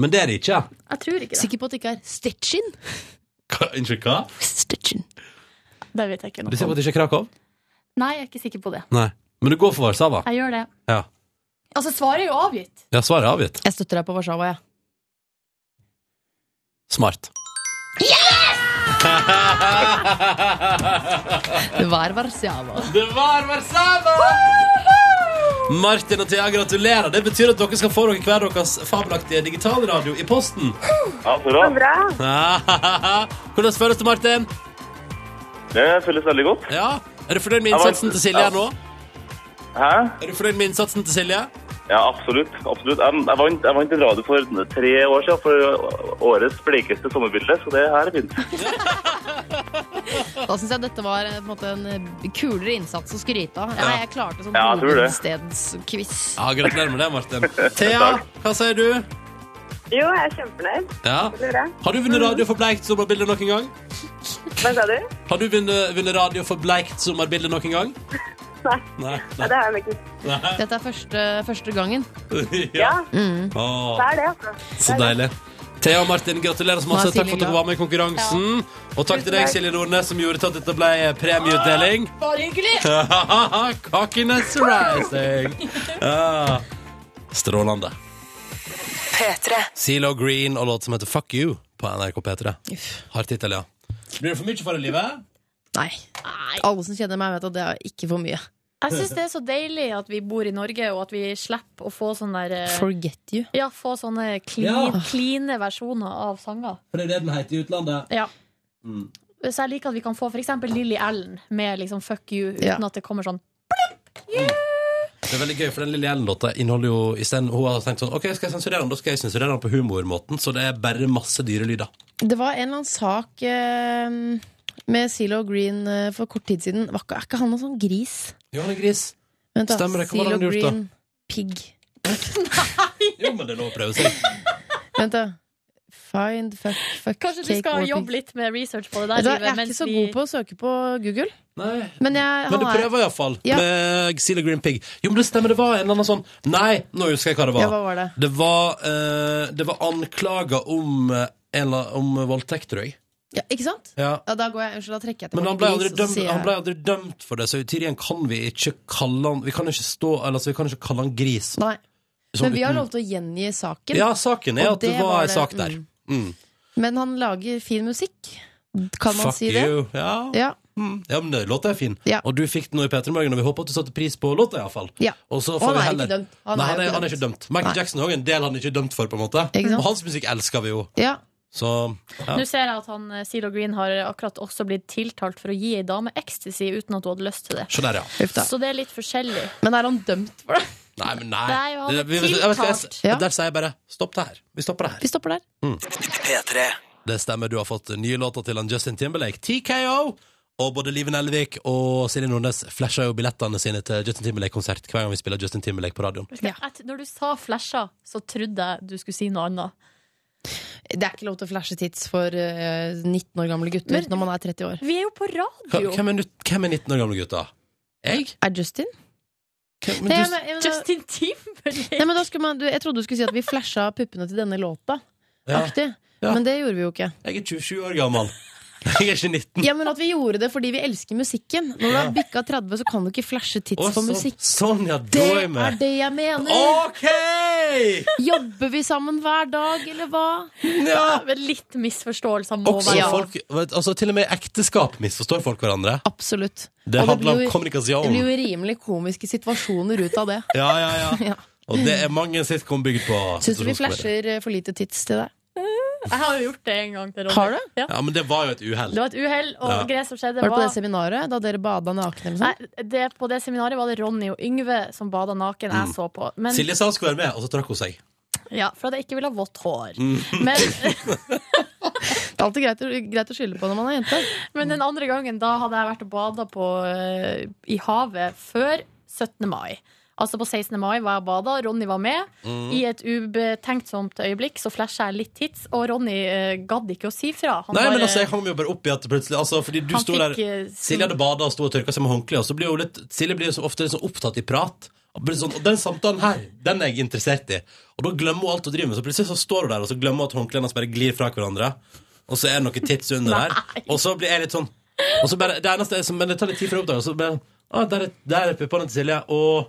Speaker 2: Men det er det ikke.
Speaker 3: Jeg tror ikke det.
Speaker 5: Sikker på at det ikke er Stetchin?
Speaker 2: Hva? Unnskyld, hva?
Speaker 5: Stetchin.
Speaker 3: Det vet jeg ikke
Speaker 2: Du ser på
Speaker 3: noe om.
Speaker 2: at det ikke er Krakow?
Speaker 3: Nei, jeg er ikke sikker på det.
Speaker 2: Nei. Men du går for Warszawa?
Speaker 3: Jeg gjør det.
Speaker 2: Ja.
Speaker 9: Altså, svaret er jo avgitt.
Speaker 2: ja, svaret er avgitt.
Speaker 5: Jeg støtter deg på Warszawa, jeg.
Speaker 2: Smart.
Speaker 5: Det var Warszawa.
Speaker 2: Det var Warszawa! Martin og Thea, gratulerer. Det betyr at dere skal få dere hver deres fabelaktige digitalradio i posten.
Speaker 7: Ja, så bra.
Speaker 8: Bra.
Speaker 2: Hvordan føles det, Martin?
Speaker 7: Det føles veldig godt.
Speaker 2: Ja? Er du fornøyd med innsatsen til Silje her nå?
Speaker 7: Hæ?
Speaker 2: Er du fornøyd med innsatsen til Silje?
Speaker 7: Ja, absolutt. absolutt. Jeg, jeg, vant, jeg vant en radio for tre år siden for årets bleikeste sommerbilde, så det her er fint.
Speaker 9: Da syns jeg dette var eh, på en, måte, en kulere innsats å skryte av. Ja, jeg klarte sånn
Speaker 7: Ja, jeg tror det.
Speaker 9: hovedstedsquiz.
Speaker 2: Ja, Gratulerer med det, Martin. Thea, hva sier du?
Speaker 8: Jo, jeg er kjempenøyd.
Speaker 2: Ja.
Speaker 8: Det er bra.
Speaker 2: Har du vunnet radio for bleikt sommerbilde noen gang?
Speaker 8: Hva sa du?
Speaker 2: Har du vunnet, vunnet radio for bleikt sommerbilde noen gang?
Speaker 8: Nei.
Speaker 2: Nei.
Speaker 8: Ja,
Speaker 2: nei.
Speaker 8: det har jeg ikke.
Speaker 9: Dette er første, første gangen.
Speaker 8: Ja,
Speaker 2: Ja. Åh.
Speaker 8: det er det, altså.
Speaker 2: Så deilig. Thea og Martin, gratulerer så
Speaker 9: Nå
Speaker 2: masse.
Speaker 9: er
Speaker 2: Takk for at
Speaker 9: Silje
Speaker 2: dere var med i konkurransen. Og takk til deg, Silje Nordnes, som gjorde til at dette ble premieutdeling.
Speaker 9: Bare hyggelig!
Speaker 2: Cockiness rising. Ja. Strålende.
Speaker 4: P3.
Speaker 2: Zelo Green og låt som heter Fuck You på NRK P3. Har tittel, ja. Blir det for mye for det livet?
Speaker 5: Nei. Alle som kjenner meg, vet at det er ikke for mye.
Speaker 3: Jeg syns det er så deilig at vi bor i Norge, og at vi slipper å få sånne, der, eh,
Speaker 5: Forget you.
Speaker 3: ja, få sånne
Speaker 2: Ja.
Speaker 3: clean, cleane versjoner av sanger.
Speaker 2: For det er det den heter i utlandet.
Speaker 3: Ja. Så jeg liker at vi kan få f.eks. Lilly Allen med liksom 'fuck you', uten
Speaker 5: Ja.
Speaker 3: at det kommer sånn
Speaker 2: Det er veldig gøy, for den lille Ellen-låta inneholder jo i stedet, Hun har tenkt sånn OK, skal jeg sensurere den? Da skal jeg sensurere den på humormåten, så det er bare masse dyre lyder.
Speaker 5: Det var en eller annen sak eh, med Zelo Green eh, for kort tid siden. Var ikke, er ikke han noen sånn gris?
Speaker 2: Johanne Gris.
Speaker 5: Vent da,
Speaker 2: Stemmer det, hva var det
Speaker 5: Zelo
Speaker 2: han gjorde da?
Speaker 5: Green Pig.
Speaker 2: Jo, men det er lov å prøve seg.
Speaker 5: Vent, da. Find fuck, fuck
Speaker 3: Kanskje
Speaker 5: cake
Speaker 3: du skal
Speaker 5: or
Speaker 3: jobbe
Speaker 5: pig.
Speaker 3: litt med research på det
Speaker 5: Vet
Speaker 3: der? livet,
Speaker 5: du hva, Jeg er ikke
Speaker 3: mens
Speaker 5: så
Speaker 3: vi-
Speaker 5: god på å søke på Google,
Speaker 2: Nei.
Speaker 5: men jeg
Speaker 2: Men du
Speaker 5: han er-
Speaker 2: prøver iallfall
Speaker 5: Ja.
Speaker 2: med Seal Green Pig. Jo, men det stemmer, det var en eller annen sånn Nei, nå husker jeg hva det var.
Speaker 5: Ja, hva var det?
Speaker 2: Det var, eh, det var anklager om, eh, en eller, om voldtekt, tror jeg.
Speaker 5: Ja, ikke sant?
Speaker 2: Ja.
Speaker 5: Ja, da går jeg, unnskyld, da trekker jeg
Speaker 2: Men
Speaker 5: tilbake
Speaker 2: han ble, aldri
Speaker 5: gris, og så
Speaker 2: dømt,
Speaker 5: sier
Speaker 2: han
Speaker 5: jeg-
Speaker 2: ble aldri dømt for det, så Tyrien kan vi ikke kalle han Vi kan ikke stå eller, altså, Vi kan ikke kalle han gris.
Speaker 5: Nei.
Speaker 2: Sånn
Speaker 5: Men vi har
Speaker 2: uten-
Speaker 5: lov til å gjengi saken.
Speaker 2: Ja, saken er
Speaker 5: Og
Speaker 2: at det
Speaker 5: det
Speaker 2: var,
Speaker 5: var
Speaker 2: en
Speaker 5: det,
Speaker 2: sak der.
Speaker 5: mm.
Speaker 2: Mm.
Speaker 5: Men han lager fin musikk. Kan man
Speaker 2: Fuck
Speaker 5: si det?
Speaker 2: you. Ja.
Speaker 5: Ja.
Speaker 2: Mm. ja, men det- låta er fin.
Speaker 5: Ja.
Speaker 2: Og du fikk den nå i P3 Morgen, og vi håper at du satte pris på låta, iallfall.
Speaker 5: Ja.
Speaker 2: Og så
Speaker 5: Og
Speaker 2: får
Speaker 5: han
Speaker 2: vi
Speaker 5: er
Speaker 2: heller
Speaker 5: ikke dømt. Han
Speaker 2: Nei,
Speaker 5: er
Speaker 2: han
Speaker 5: jo
Speaker 2: er,
Speaker 5: ikke
Speaker 2: han er ikke dømt. Michael
Speaker 5: Nei.
Speaker 2: Jackson er også en del han ikke er dømt for, på en måte.
Speaker 5: Ikke sant?
Speaker 2: Og hans musikk elsker vi jo.
Speaker 5: Ja.
Speaker 2: Så ja.
Speaker 3: Nå ser jeg at han, eh, Zero Green har akkurat også blitt tiltalt for å gi ei dame ecstasy uten at hun hadde lyst til det.
Speaker 2: Se der, ja.
Speaker 5: Uff da.
Speaker 3: Så det er litt forskjellig.
Speaker 5: Men er han dømt for det?
Speaker 2: Nei, men nei.
Speaker 3: Nei, jo, han er
Speaker 2: Det- vi- jeg vet hva jeg-
Speaker 3: tiltalt.
Speaker 5: Ja.
Speaker 2: Der sier jeg bare stopp det her. Vi stopper det her.
Speaker 5: Vi stopper der.
Speaker 1: P3
Speaker 2: Det stemmer, du har fått nye låter til han Justin Timberlake. TKO! Og både Liven Elvik og Silje Nordnes flasher jo billettene sine til Justin Timberlake-konsert hver gang vi spiller Justin Timberlake på radioen.
Speaker 3: Ja. Et- Når du sa flasha, så trodde jeg du skulle si noe annet.
Speaker 5: Det er ikke lov til å flashe tits for eh, 19 år gamle gutter
Speaker 3: Men-
Speaker 5: når man er 30 år.
Speaker 3: Vi er jo på
Speaker 2: Hva-
Speaker 3: radio!
Speaker 2: Hvem er, nytt- hvem er 19 år gamle gutta? Jeg?
Speaker 5: Er Justin?
Speaker 2: Hvem, men
Speaker 5: Nei,
Speaker 2: du-
Speaker 5: men, men,
Speaker 3: Justin Timberlake!
Speaker 5: nei, men da skulle man, du, jeg trodde du skulle si at vi flasha puppene til denne låta.
Speaker 2: ja,
Speaker 5: Aktig.
Speaker 2: Ja.
Speaker 5: Men det gjorde vi jo ikke.
Speaker 2: jeg er 27 år gammel. Jeg er ikke 19.
Speaker 5: Ja, men at vi gjorde det fordi vi elsker musikken. Når du har bikka 30, så kan du ikke flashe
Speaker 2: Å,
Speaker 5: tits på
Speaker 2: sånn-
Speaker 5: musikk.
Speaker 2: Sånn, ja. Da
Speaker 5: Det
Speaker 2: er jeg
Speaker 5: er
Speaker 2: med.
Speaker 5: det jeg mener!
Speaker 2: OK!
Speaker 5: Jobber vi sammen hver dag, eller hva?
Speaker 3: Ja, men litt misforståelser må
Speaker 2: Også
Speaker 3: være
Speaker 5: Ja.
Speaker 2: folk, vet, altså Til og med i ekteskap misforstår folk hverandre.
Speaker 5: Absolutt.
Speaker 2: Det
Speaker 5: Og
Speaker 2: handler
Speaker 5: blir
Speaker 2: om
Speaker 5: jo- Det
Speaker 2: kommunikasjon.
Speaker 5: blir jo rimelig komiske situasjoner ut av det.
Speaker 2: Ja, ja, ja.
Speaker 5: Ja.
Speaker 2: Og det er mange sitcom bygd på.
Speaker 5: Syns du vi
Speaker 2: situasjonskomedier.
Speaker 5: flasher eh, for lite tits til deg?
Speaker 3: Jeg har jo gjort det en gang. Til Ronny.
Speaker 5: Har du?
Speaker 3: Ja.
Speaker 2: Ja, men det var jo et uhell.
Speaker 3: Det var et uhell, og
Speaker 2: Ja.
Speaker 3: det som skjedde,
Speaker 5: Var det på
Speaker 3: var
Speaker 5: det seminaret da dere bada nakne? Eller sånt?
Speaker 3: Nei, det, på det seminaret var det Ronny og Yngve som bada naken. Jeg så på. Men,
Speaker 2: Mm. Silje sa hun skulle være med, og så trakk hun seg.
Speaker 3: ja, for at jeg ikke ville ha vått hår.
Speaker 2: Mm.
Speaker 3: Men,
Speaker 5: Det er alltid greit, å- greit å skylde på når man er jente.
Speaker 3: men den andre gangen, da hadde jeg vært og bada på, eh, i havet før 17. mai. Altså På 16. mai var jeg og bada, Ronny var med.
Speaker 2: Mm.
Speaker 3: I et ubetenksomt øyeblikk så flasha jeg litt tits, og Ronny eh, gadd ikke å si fra. Han
Speaker 2: Nei,
Speaker 3: bare-
Speaker 2: men altså, jeg hang jo bare opp i at plutselig altså, Fordi du
Speaker 3: Han
Speaker 2: sto der
Speaker 3: fikk, eh,
Speaker 2: Silje hadde bada og sto og tørka seg med håndkle, og så blir hun litt Silje blir jo så ofte litt sånn opptatt i prat. Og blir sånn, og den samtalen her, den er jeg interessert i. Og da glemmer hun alt hun driver med. Så plutselig så står hun der, og så glemmer hun at håndklærne hennes bare glir fra hverandre. Og så er det noe tits under der. Og så blir jeg litt sånn Og så bare, Det eneste er som men det tar litt tid før jeg oppdager det, så bare ah, der, er, der er puppene til Silje, og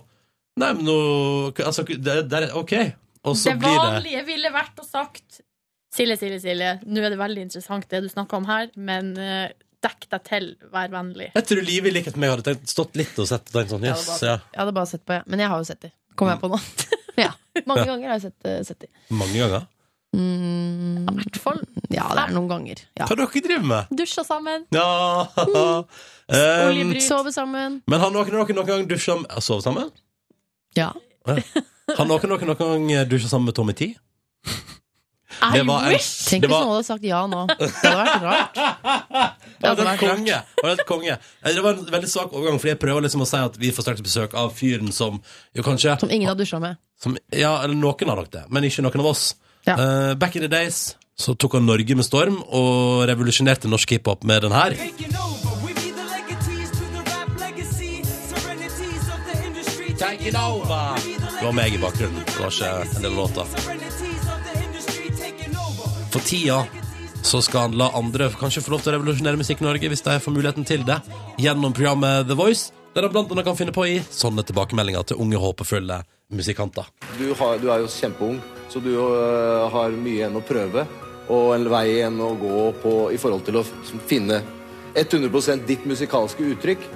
Speaker 2: Nei, men nå altså, der, der, er- OK. Og så
Speaker 3: det
Speaker 2: blir det
Speaker 3: vanlige ville vært å sagt Silje, Silje, Silje, nå er det veldig interessant det du snakker om her, men eh, dekk deg til, vær vennlig.
Speaker 2: Jeg tror Liv i likhet med meg hadde tenkt, stått litt og sett og tenkt sånn Jøss, ja.
Speaker 5: Jeg hadde bare sett på, ja. Men jeg har jo sett de. Kommer jeg på nå. ja. Mange ganger har jeg sett, eh, sett de.
Speaker 2: Mange ganger.
Speaker 5: Mm, I hvert fall. Ja, det er noen ganger. Ja.
Speaker 2: Hva er det dere driver med?
Speaker 3: Dusja sammen,
Speaker 2: Ja, um,
Speaker 3: oljebruk.
Speaker 5: Sove sammen.
Speaker 2: men har noen av dere noen gang dusja med- sovet sammen?
Speaker 5: Ja.
Speaker 2: Har noen av dere noen gang dusja sammen med Tommy T?
Speaker 3: I
Speaker 2: Det var en-
Speaker 3: wish!
Speaker 5: Tenk
Speaker 2: Det
Speaker 5: hvis
Speaker 2: var-
Speaker 5: noen hadde sagt ja nå. Det hadde vært rart.
Speaker 2: Ja, det
Speaker 5: hadde
Speaker 2: var
Speaker 5: vært
Speaker 2: helt konge. Det var helt konge. Eh, Det var en veldig svak overgang, fordi jeg prøver liksom å si at vi får straks besøk av fyren som jo kanskje
Speaker 5: Som ingen har dusja med.
Speaker 2: som, Ja, eller noen har nok det, men ikke noen av oss.
Speaker 5: Ja.
Speaker 2: Eh, back in the days så tok han Norge med storm og revolusjonerte norsk hiphop med den her. Take it over. Det var meg i bakgrunnen. Det var ikke en del låter. For tida så skal han la andre kanskje få lov til å revolusjonere musikk i Norge hvis de får muligheten til det, gjennom programmet The Voice, der han blant annet kan finne på å gi sånne tilbakemeldinger til unge, håpefulle musikanter.
Speaker 10: Du, har, du er jo kjempeung, så du øh, har mye igjen å prøve. Og en vei igjen å gå på i forhold til å f- finne 100 ditt musikalske uttrykk.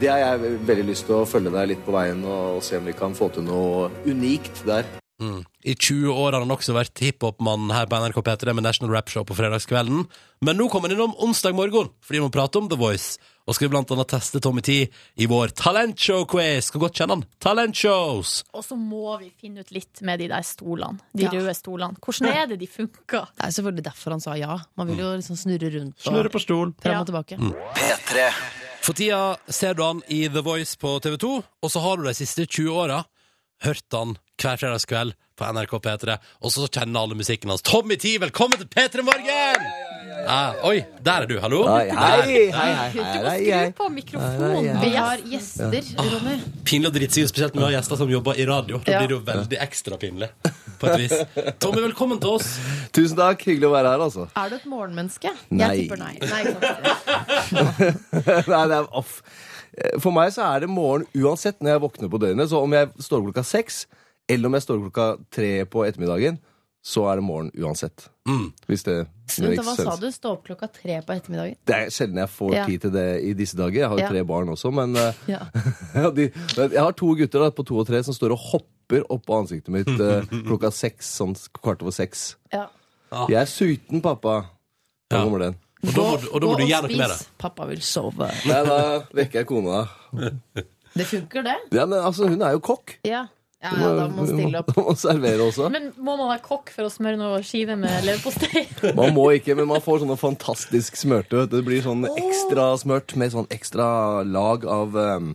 Speaker 10: Det har jeg veldig lyst til å følge deg litt på veien og, og se om vi kan få til noe unikt der.
Speaker 2: Mm. I 20 år har han også vært hiphop-mann her på NRK P3 med National Rap Show på fredagskvelden. Men nå kommer han innom onsdag morgen, fordi vi må prate om The Voice. Og skal blant annet teste Tommy T i vår talentshow-quiz. Kan godt kjenne han. Talentshows!
Speaker 3: Og så må vi finne ut litt med de der stolene, de røde stolene. Hvordan er det de funker?
Speaker 5: Det er selvfølgelig derfor han sa ja. Man vil jo liksom snurre rundt og
Speaker 2: på stol.
Speaker 5: fram og tilbake.
Speaker 11: P3
Speaker 2: For tida ser du han i The Voice på TV 2, og så har du de siste 20 åra hørt han hver fredagskveld på NRK P3, og så kjenner alle musikken hans. Tommy T, velkommen til P3 Morgen! Ah, oi, der er du, hallo. Der.
Speaker 3: Skru på mikrofonen.
Speaker 5: Vi har gjester, Ronny.
Speaker 2: Pinlig å drite seg ut, spesielt når vi har gjester som jobber i radio. Da
Speaker 5: Ja.
Speaker 2: blir det jo veldig ekstra pinlig, på et vis. Tommy, velkommen til oss.
Speaker 10: Tusen takk. Hyggelig å være her, altså.
Speaker 5: Er du et morgenmenneske?
Speaker 10: Nei.
Speaker 5: Jeg tipper nei. nei ikke sant?
Speaker 10: Nei, det er, off. Eh, For meg så er det morgen uansett når jeg våkner på døgnet. Så om jeg står klokka seks, eller om jeg står klokka tre på ettermiddagen, så er det morgen uansett. Hvis det
Speaker 5: Vent, hva sa du? Stå opp klokka tre på ettermiddagen?
Speaker 10: Det er sjelden jeg får
Speaker 5: Ja.
Speaker 10: tid til det i disse dager. Jeg har jo
Speaker 5: Ja.
Speaker 10: tre barn også, men eh,
Speaker 5: Ja.
Speaker 10: de, Jeg har to gutter da, på to og tre som står og hopper oppå ansiktet mitt eh, klokka seks, sånn kvart over seks.
Speaker 5: Ja.
Speaker 10: Jeg er sulten, pappa. Da
Speaker 2: Ja.
Speaker 10: kommer den.
Speaker 2: Og da må, du- og da må du gjøre noe med det.
Speaker 5: Pappa vil sove.
Speaker 10: Nei, da vekker jeg kona.
Speaker 5: Det funker, det?
Speaker 10: Ja, men altså, hun er jo kokk.
Speaker 5: Ja. Ja, ja, da må man stille opp.
Speaker 10: Må servere også.
Speaker 3: Men må man være kokk for å smøre noe skive med leverpostei?
Speaker 10: Man må ikke, men man får sånne fantastisk smørte. vet du. Det blir sånn ekstra smørt med sånn ekstra lag av um,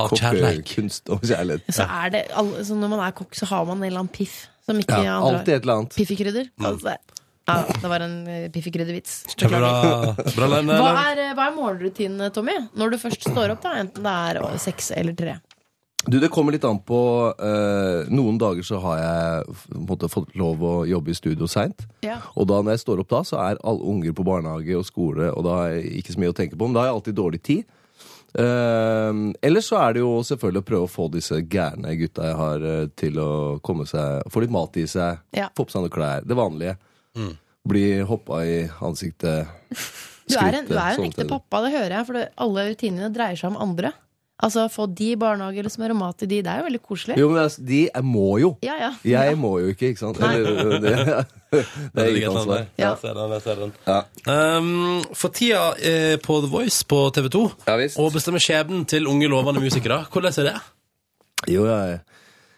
Speaker 2: Av kjærleik.
Speaker 10: kunst og kjærlighet.
Speaker 5: Så er det, alle- så når man er kokk, så har man en eller annen piff som ikke
Speaker 10: Ja,
Speaker 5: andre
Speaker 10: alltid
Speaker 5: har.
Speaker 10: et eller annet.
Speaker 5: Piffikrydder, kalles det. Ja, det var en eh, piffikryddervits.
Speaker 2: Kjempebra. Bra, Lene,
Speaker 5: Hva
Speaker 2: eller?
Speaker 5: er, eh, hva er morgenrutinene, Tommy? Når du først står opp, da, enten det er eh, seks eller tre?
Speaker 10: Du, Det kommer litt an på eh, Noen dager så har jeg f- på en måte, fått lov å jobbe i studio seint.
Speaker 5: Ja.
Speaker 10: Og da når jeg står opp da, så er alle unger på barnehage og skole, og da er jeg ikke så mye å tenke på. Men da har jeg alltid dårlig tid. Uh, Eller så er det jo selvfølgelig å prøve å få disse gærne gutta jeg har, eh, til å komme seg Få litt mat i seg,
Speaker 5: Ja.
Speaker 10: få på seg noen klær. Det vanlige. Bli hoppa i ansiktet.
Speaker 5: Du er en,
Speaker 10: skrittet,
Speaker 5: du er en
Speaker 10: sånne
Speaker 5: ekte
Speaker 10: ting.
Speaker 5: pappa, det hører jeg, for det, alle rutinene dreier seg om andre. Altså få de i barnehage eller smøre mat til de, det er jo veldig koselig.
Speaker 10: Jo, men altså, de jeg må jo.
Speaker 5: Ja, ja.
Speaker 10: Jeg må jo ikke, ikke sant? Eller, øh, det, det er eget ansvar.
Speaker 5: Ja.
Speaker 2: Jeg ser den, jeg ser den.
Speaker 10: Ja.
Speaker 2: Um, for tida eh, på The Voice på TV 2
Speaker 10: Ja, visst.
Speaker 2: og bestemmer skjebnen til unge, lovende musikere. Hvordan er det?
Speaker 10: Jo, jeg,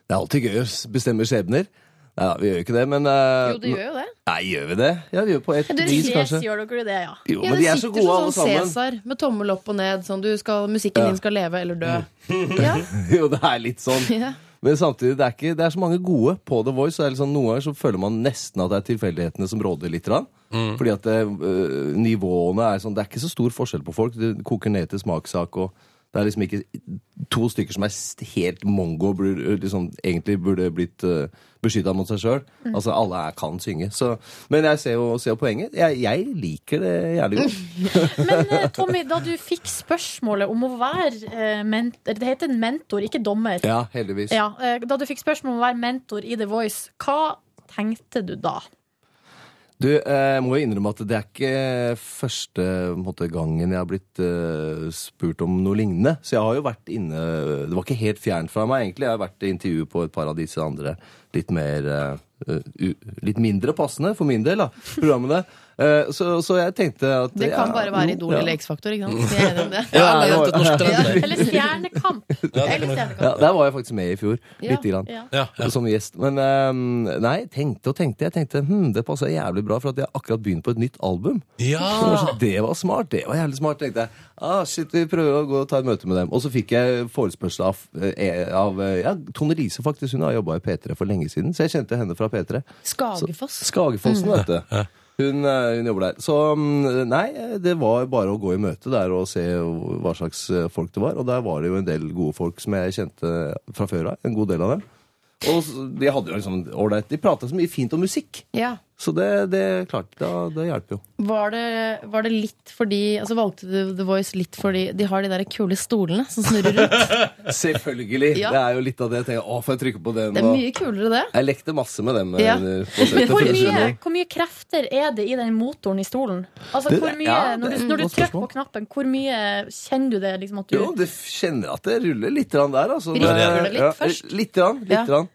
Speaker 10: det er alltid gøy å s- bestemme skjebner. Nei, da, vi gjør jo ikke det, men eh,
Speaker 5: Jo, du gjør jo det.
Speaker 10: Nei, gjør vi det? Ja, vi gjør på et
Speaker 5: du
Speaker 10: vis,
Speaker 3: Yes,
Speaker 10: kanskje.
Speaker 3: gjør dere det, ja.
Speaker 10: Jo,
Speaker 5: Ja,
Speaker 10: men
Speaker 5: det
Speaker 10: de er så
Speaker 5: sitter
Speaker 10: gode
Speaker 5: som
Speaker 10: alle
Speaker 5: sånn
Speaker 10: sammen.
Speaker 5: Cæsar med tommel opp og ned, sånn du skal, musikken din skal leve eller dø.
Speaker 10: Mm.
Speaker 5: Ja.
Speaker 10: Jo, det er litt sånn.
Speaker 5: Ja.
Speaker 10: Men samtidig, det er, ikke, det er så mange gode på The Voice. og det er litt sånn, noen ganger så føler man nesten at det er tilfeldighetene som råder litt. grann. Fordi eh, at det, øh, nivåene er sånn Det er ikke så stor forskjell på folk. Det koker ned til smakssak og Det er liksom ikke to stykker som er st- helt mongo, burde, liksom, egentlig burde blitt uh, beskytta mot seg sjøl.
Speaker 12: Mm.
Speaker 10: Altså, alle er, kan synge. Så, men jeg ser jo, ser jo poenget. Jeg, jeg liker det jævlig
Speaker 5: Mm.
Speaker 10: godt.
Speaker 3: Eh, Tommy, da du fikk spørsmålet om å være eh, mentor Det heter en mentor, ikke dommer.
Speaker 10: Ja, heldigvis.
Speaker 3: Ja, eh, da du fikk spørsmål om å være mentor i The Voice, hva tenkte du da?
Speaker 10: Du, eh, jeg må jo innrømme at det er ikke første på en måte, gangen jeg har blitt eh, spurt om noe lignende. Så jeg har jo vært inne Det var ikke helt fjernt fra meg, egentlig. Jeg har vært i intervju på et par av disse andre litt mer eh, u, Litt mindre passende, for min del, da, programmene. Eh, så, så jeg tenkte at
Speaker 5: Det kan
Speaker 10: ja,
Speaker 5: bare være
Speaker 10: jo,
Speaker 5: Idol
Speaker 10: ja. Mm.
Speaker 5: eller X-Faktor, ikke sant? Vi er enige om det.
Speaker 10: Ja, alle jenter til norsk talent.
Speaker 3: Eller Stjernekamp. Eller Stjernekamp.
Speaker 10: Ja, der var jeg faktisk med i fjor.
Speaker 3: Ja,
Speaker 10: Lite grann.
Speaker 3: ja.
Speaker 10: Som sånn gjest. Men ehm, nei, tenkte og tenkte. Jeg tenkte hm, det passa jævlig bra, for at jeg har akkurat begynt på et nytt album.
Speaker 2: Ja.
Speaker 10: Så kanskje det var smart. Det var jævlig smart, tenkte jeg. Ah, shit, vi prøver å gå og ta et møte med dem. Og så fikk jeg forespørsel av, eh, av eh, ja, Tone Lise, faktisk. Hun har jobba i P3 for lenge siden, så jeg kjente henne fra P3.
Speaker 5: Skagerfoss.
Speaker 10: Skagerfossen,
Speaker 5: Mm.
Speaker 10: vet du. Hun, eh, hun jobber der. Så mm, nei, det var bare å gå i møte der og se hva slags eh, folk det var. Og der var det jo en del gode folk som jeg kjente fra før av. En god del av dem. Og s- de hadde jo liksom ålreit De prata så mye fint om musikk.
Speaker 5: Ja.
Speaker 10: Så det, det klart, da, det hjelper jo.
Speaker 5: Var det, var det litt fordi Altså Valgte du The Voice litt fordi de har de der kule stolene som snurrer rundt?
Speaker 10: Selvfølgelig.
Speaker 5: Ja.
Speaker 10: Det er jo litt av det jeg tenker. Å, får jeg trykke på den?
Speaker 5: Det er
Speaker 10: og-
Speaker 5: mye kulere, det.
Speaker 10: Jeg lekte masse med dem.
Speaker 5: Ja.
Speaker 10: eh, på settet, for
Speaker 3: Hvor
Speaker 10: å sånn.
Speaker 3: mye,
Speaker 10: skjønne.
Speaker 3: hvor mye krefter er det i den motoren i stolen? Altså,
Speaker 10: Det-
Speaker 3: hvor mye,
Speaker 10: ja,
Speaker 3: når
Speaker 10: det
Speaker 3: du,
Speaker 10: er
Speaker 3: når du
Speaker 10: et godt
Speaker 3: trykker på knappen, hvor mye kjenner du det? Liksom, at du,
Speaker 10: Jo, det f- kjenner at det ruller litt grann der, altså.
Speaker 3: Ruller det litt
Speaker 10: ja, eh,
Speaker 3: først?
Speaker 10: Litt grann. Litt
Speaker 3: Ja.
Speaker 10: grann.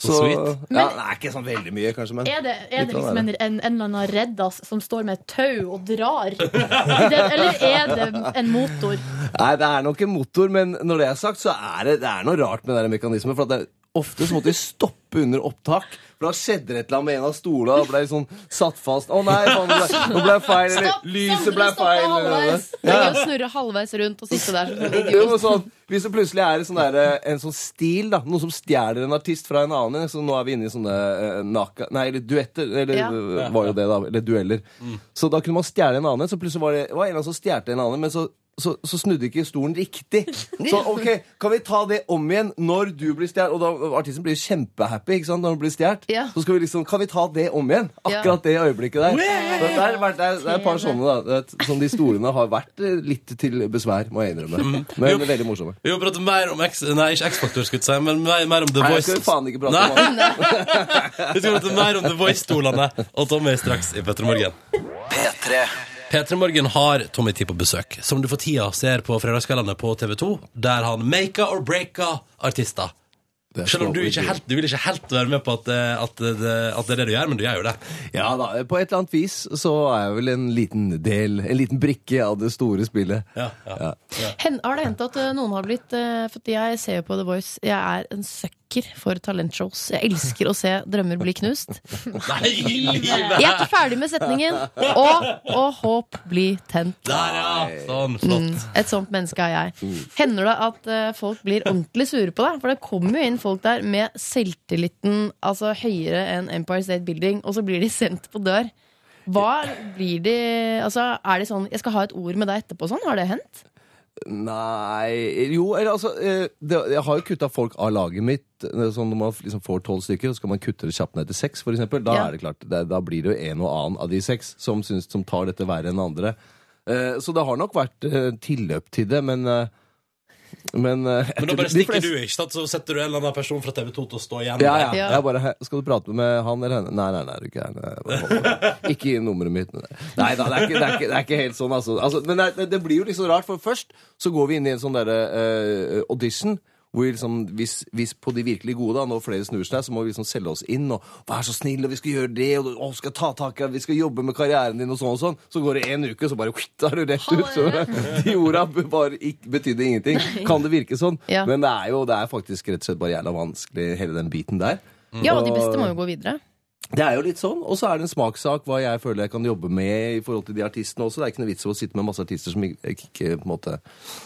Speaker 2: Så sweet.
Speaker 10: Ja, det er ikke sånn veldig mye, kanskje, men
Speaker 3: er det, er
Speaker 10: litt
Speaker 3: det
Speaker 10: grann
Speaker 3: liksom
Speaker 10: er
Speaker 3: en,
Speaker 10: det.
Speaker 3: en, en eller annen reddas som står med et tau og drar? Det, eller er det en motor?
Speaker 10: Nei, det er nok en motor, men når det er sagt, så er det, det er noe rart med den mekanismen. For at det, ofte så måtte vi stoppe under opptak. For da skjedde det et eller annet med en av stolene. Da ble jeg sånn satt fast. Å nei, faen, det ble, nå ble jeg feil.
Speaker 5: Stopp,
Speaker 10: Eller lyset ble
Speaker 5: Stoppe
Speaker 10: feil.
Speaker 5: halvveis. Det er
Speaker 10: Ja.
Speaker 5: gøy å snurre halvveis rundt og sitte der som en
Speaker 10: Jo, men
Speaker 5: idiot.
Speaker 10: sånn, hvis det plutselig er en sånn der, en sånn stil, da, noe som stjeler en artist fra en annen Så nå er vi inne i sånne eh, naka, nei, eller duetter, eller
Speaker 12: Ja.
Speaker 10: eh, var jo det, da. Eller dueller. Så da kunne man stjele en annen, så plutselig var det var en eller annen som stjal en annen. men så så, så snudde ikke stolen riktig. Så ok, kan vi ta det om igjen når du blir stjålet? Og da, artisten blir jo kjempehappy ikke sant, når han blir stjålet. Så skal vi liksom Kan vi ta det om igjen? Akkurat det øyeblikket der.
Speaker 12: Yeah.
Speaker 10: Så Det, er, det, er, det er et par sånne da det- som de stolene har vært eh, litt til besvær, må jeg innrømme. Men
Speaker 2: Jo.
Speaker 10: veldig morsomme.
Speaker 2: Vi må prate mer om X Nei, ikke X-Faktor, skulle jeg si, men mer, mer om The
Speaker 10: Nei, jeg
Speaker 2: Voice.
Speaker 10: skal faen ikke prate om
Speaker 2: Nei. Vi skal prate mer om The Voice-stolene og Tommy straks i P3 Morgen. P3 Morgen har Tommy Tee på besøk, som du for tida ser på fredagskveldene på TV2, der han maker or breaker artister.
Speaker 10: er
Speaker 2: Selv om du, ikke
Speaker 10: strålende.
Speaker 2: helt, du vil ikke helt være med på at, eh, at, det- at det er det du gjør, men du gjør jo det.
Speaker 10: Ja da, på et eller annet vis så er jeg vel en liten del, en liten brikke av det store spillet. Ja.
Speaker 5: Hen, har det hendt at eh, noen har blitt eh, For jeg ser jo på The Voice. Jeg er en søkker for talentshows. Jeg elsker å se drømmer bli knust.
Speaker 2: Nei,
Speaker 5: Jeg er ikke ferdig med setningen. Og, og håp bli tent.
Speaker 2: Der, ja! Sånn, flott.
Speaker 5: Mm, et sånt menneske er jeg. Hender det at eh, folk blir ordentlig sure på deg? For det kommer jo inn folk der med selvtilliten altså høyere enn Empire State Building, og så blir de sendt på dør. Hva blir de Altså, er de sånn 'Jeg skal ha et ord med deg etterpå' sånn? Har det hendt?
Speaker 10: Nei Jo, eller altså eh, det, Jeg har jo kutta folk av laget mitt. eh, Sånn når man liksom får tolv stykker, så skal man kutte det kjapt ned til seks, for eksempel. Da,
Speaker 12: Ja.
Speaker 10: er det klart, det, da blir det jo en og annen av de seks som, syns- som tar dette verre enn andre. Eh, Så det har nok vært eh, tilløp til det, men eh, Men, eh,
Speaker 2: Men da bare
Speaker 10: de
Speaker 2: stikker
Speaker 10: fleste-
Speaker 2: du, ikke sant? Så setter du en eller annen person fra TV2 til å stå igjen.
Speaker 10: Ja, ja.
Speaker 2: der.
Speaker 10: Jeg bare, «Hæ, skal du prate med han eller henne? Nei, nei, nei, du er ikke her. Nei, jeg bare holder meg. Ikke gi nummeret mitt. Nei da, det er ikke, det er ikke, det er ikke helt sånn, altså. altså men det, det blir jo liksom rart, for først så går vi inn i en sånn derre eh, audition. Hvor vi liksom, hvis, hvis på de virkelig gode, da, når flere snur seg, så må vi liksom selge oss inn. Og vær så snill, og vi skal gjøre det, og, og skal ta tak i det, vi skal jobbe med karrieren din, og sånn og sånn. Så går det en uke, så bare da er du rett ut. Så de orda bare ikke, betydde ingenting. Kan det virke sånn?
Speaker 5: Ja.
Speaker 10: Men det er jo det er faktisk rett og slett bare jævla vanskelig, hele den biten der.
Speaker 5: Ja, og de beste må jo gå videre.
Speaker 10: Det er jo litt sånn, og så er det en smakssak hva jeg føler jeg kan jobbe med i forhold til de artistene også. Det er ikke noe vits i å sitte med masse artister som, ikke, ikke, på en måte,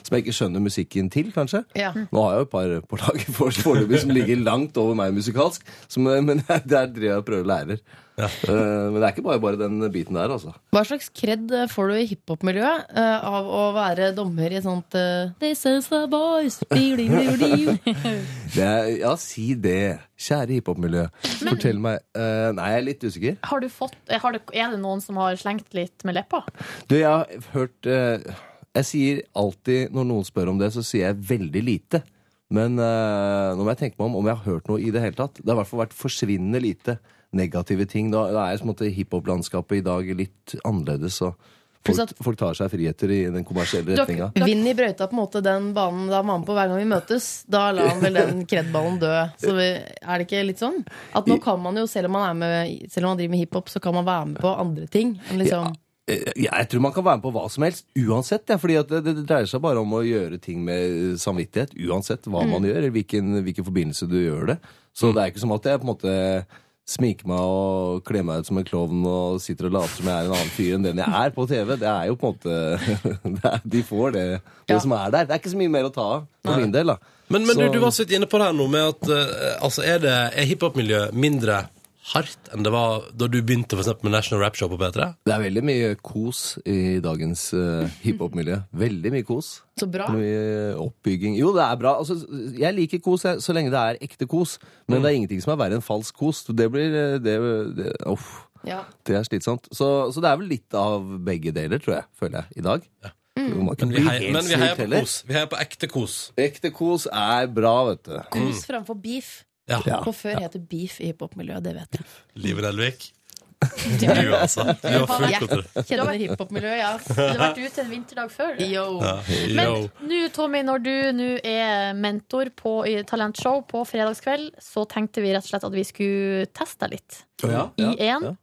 Speaker 10: som jeg ikke skjønner musikken til, kanskje.
Speaker 5: Ja.
Speaker 10: Nå har jeg jo et par på eh, laget for- foreløpig som ligger langt over meg musikalsk, som, men der driver jeg og prøver å lære. Eh, Men det er ikke bare bare den biten der, altså.
Speaker 5: Hva slags kred eh, får du i hiphop-miljøet eh, av å være dommer i et sånt eh, This is the boys bili, bili, bili.
Speaker 10: Det er, ja, si det. Kjære hiphop-miljø. Fortell meg eh, Nei, jeg er litt usikker.
Speaker 3: Har du fått, har det, er det noen som har slengt litt med leppa?
Speaker 10: Du, jeg har hørt eh, Jeg sier alltid, når noen spør om det, så sier jeg veldig lite. Men eh, nå må jeg tenke meg om om jeg har hørt noe i det hele tatt. Det har i hvert fall vært forsvinnende lite negative ting. Da, da er på en måte hiphop-landskapet i dag litt annerledes. Så
Speaker 5: Pluss
Speaker 10: folk, folk tar seg friheter i den kommersielle retninga.
Speaker 5: Vinni brøyta på en måte den banen da mamma på hver gang vi møtes. Da la han vel den kredballen dø. Så vi, er det ikke litt sånn? At nå kan man jo, selv om man, er med, selv om man driver med hiphop, så kan man være med på andre ting. enn Liksom.
Speaker 10: Eh, ja, Jeg tror man kan være med på hva som helst uansett. Ja, fordi at det, det dreier seg bare om å gjøre ting med eh, samvittighet. Uansett hva man
Speaker 5: Mm.
Speaker 10: gjør, eller hvilken, hvilken forbindelse du gjør det. Så det er ikke som at jeg på en måte sminker meg og kler meg ut som en klovn og sitter og later som jeg er en annen fyr enn den jeg er på TV. Det er jo på en måte det er, De får det, det som er der. Det er ikke så mye mer å ta av for min del. da.
Speaker 2: Men, men
Speaker 10: Så-
Speaker 2: du, du var så vidt inne på det her nå med at eh, altså er, det- er hiphop-miljøet mindre hardt enn det var da du begynte for eksempel med National Rap Show på P3?
Speaker 10: Det er veldig mye kos i dagens eh, hiphop-miljø. Veldig mye kos.
Speaker 5: Så bra.
Speaker 10: Mye eh, oppbygging. Jo, det er bra. Altså, jeg liker kos jeg, så lenge det er ekte kos. Men
Speaker 2: Mm.
Speaker 10: det er ingenting som er verre enn falsk kos. Det blir eh, Det, det, uff,
Speaker 5: Ja.
Speaker 10: det er slitsomt. Så, så det er vel litt av begge deler, tror jeg, føler jeg, i dag. Man
Speaker 2: Men
Speaker 10: kan ikke
Speaker 2: vi
Speaker 10: bli
Speaker 2: heier,
Speaker 10: helt
Speaker 2: men vi
Speaker 10: sjuk
Speaker 2: heier på
Speaker 10: heller.
Speaker 2: kos. Vi heier på ekte kos.
Speaker 10: Ekte kos er bra, vet du.
Speaker 5: Kos framfor beef.
Speaker 2: Ja.
Speaker 5: For før heter beef i hiphop-miljøet, det vet jeg.
Speaker 2: Live Nelvik. Du, altså. Du har fullt kontroll.
Speaker 5: Jeg kjenner hiphop-miljøet, ja.
Speaker 3: Du har vært ute en vinterdag før.
Speaker 5: Yo.
Speaker 2: Ja.
Speaker 3: Men
Speaker 2: Yo.
Speaker 3: nå, Tommy, når du nå er mentor på, i talentshow på fredagskveld, så tenkte vi rett og slett at vi skulle teste deg litt.
Speaker 10: Ja,
Speaker 3: I
Speaker 10: ja,
Speaker 3: en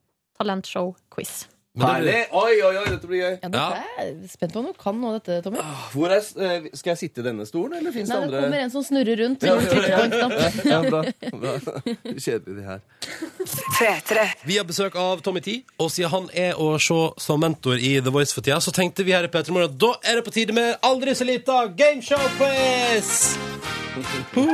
Speaker 3: talentshow-quiz.
Speaker 10: Herlig! Oi, oi, oi, dette blir gøy.
Speaker 5: Jeg er spent på om du kan nå dette, Tommy.
Speaker 10: Hvor er, eh, skal jeg sitte i denne stolen, eller fins
Speaker 5: Nei, det
Speaker 10: det andre
Speaker 5: kommer en som snurrer rundt.
Speaker 10: Ja,
Speaker 5: og trykker på en knapp.
Speaker 10: ja, bra. bra. Kjedelig, de her.
Speaker 2: Vi har besøk av Tommy Tee, og siden han er å se som mentor i The Voice for tida, så tenkte vi her i Petter Morgen at da er det på tide med aldri så lita gameshow-quiz! Uh,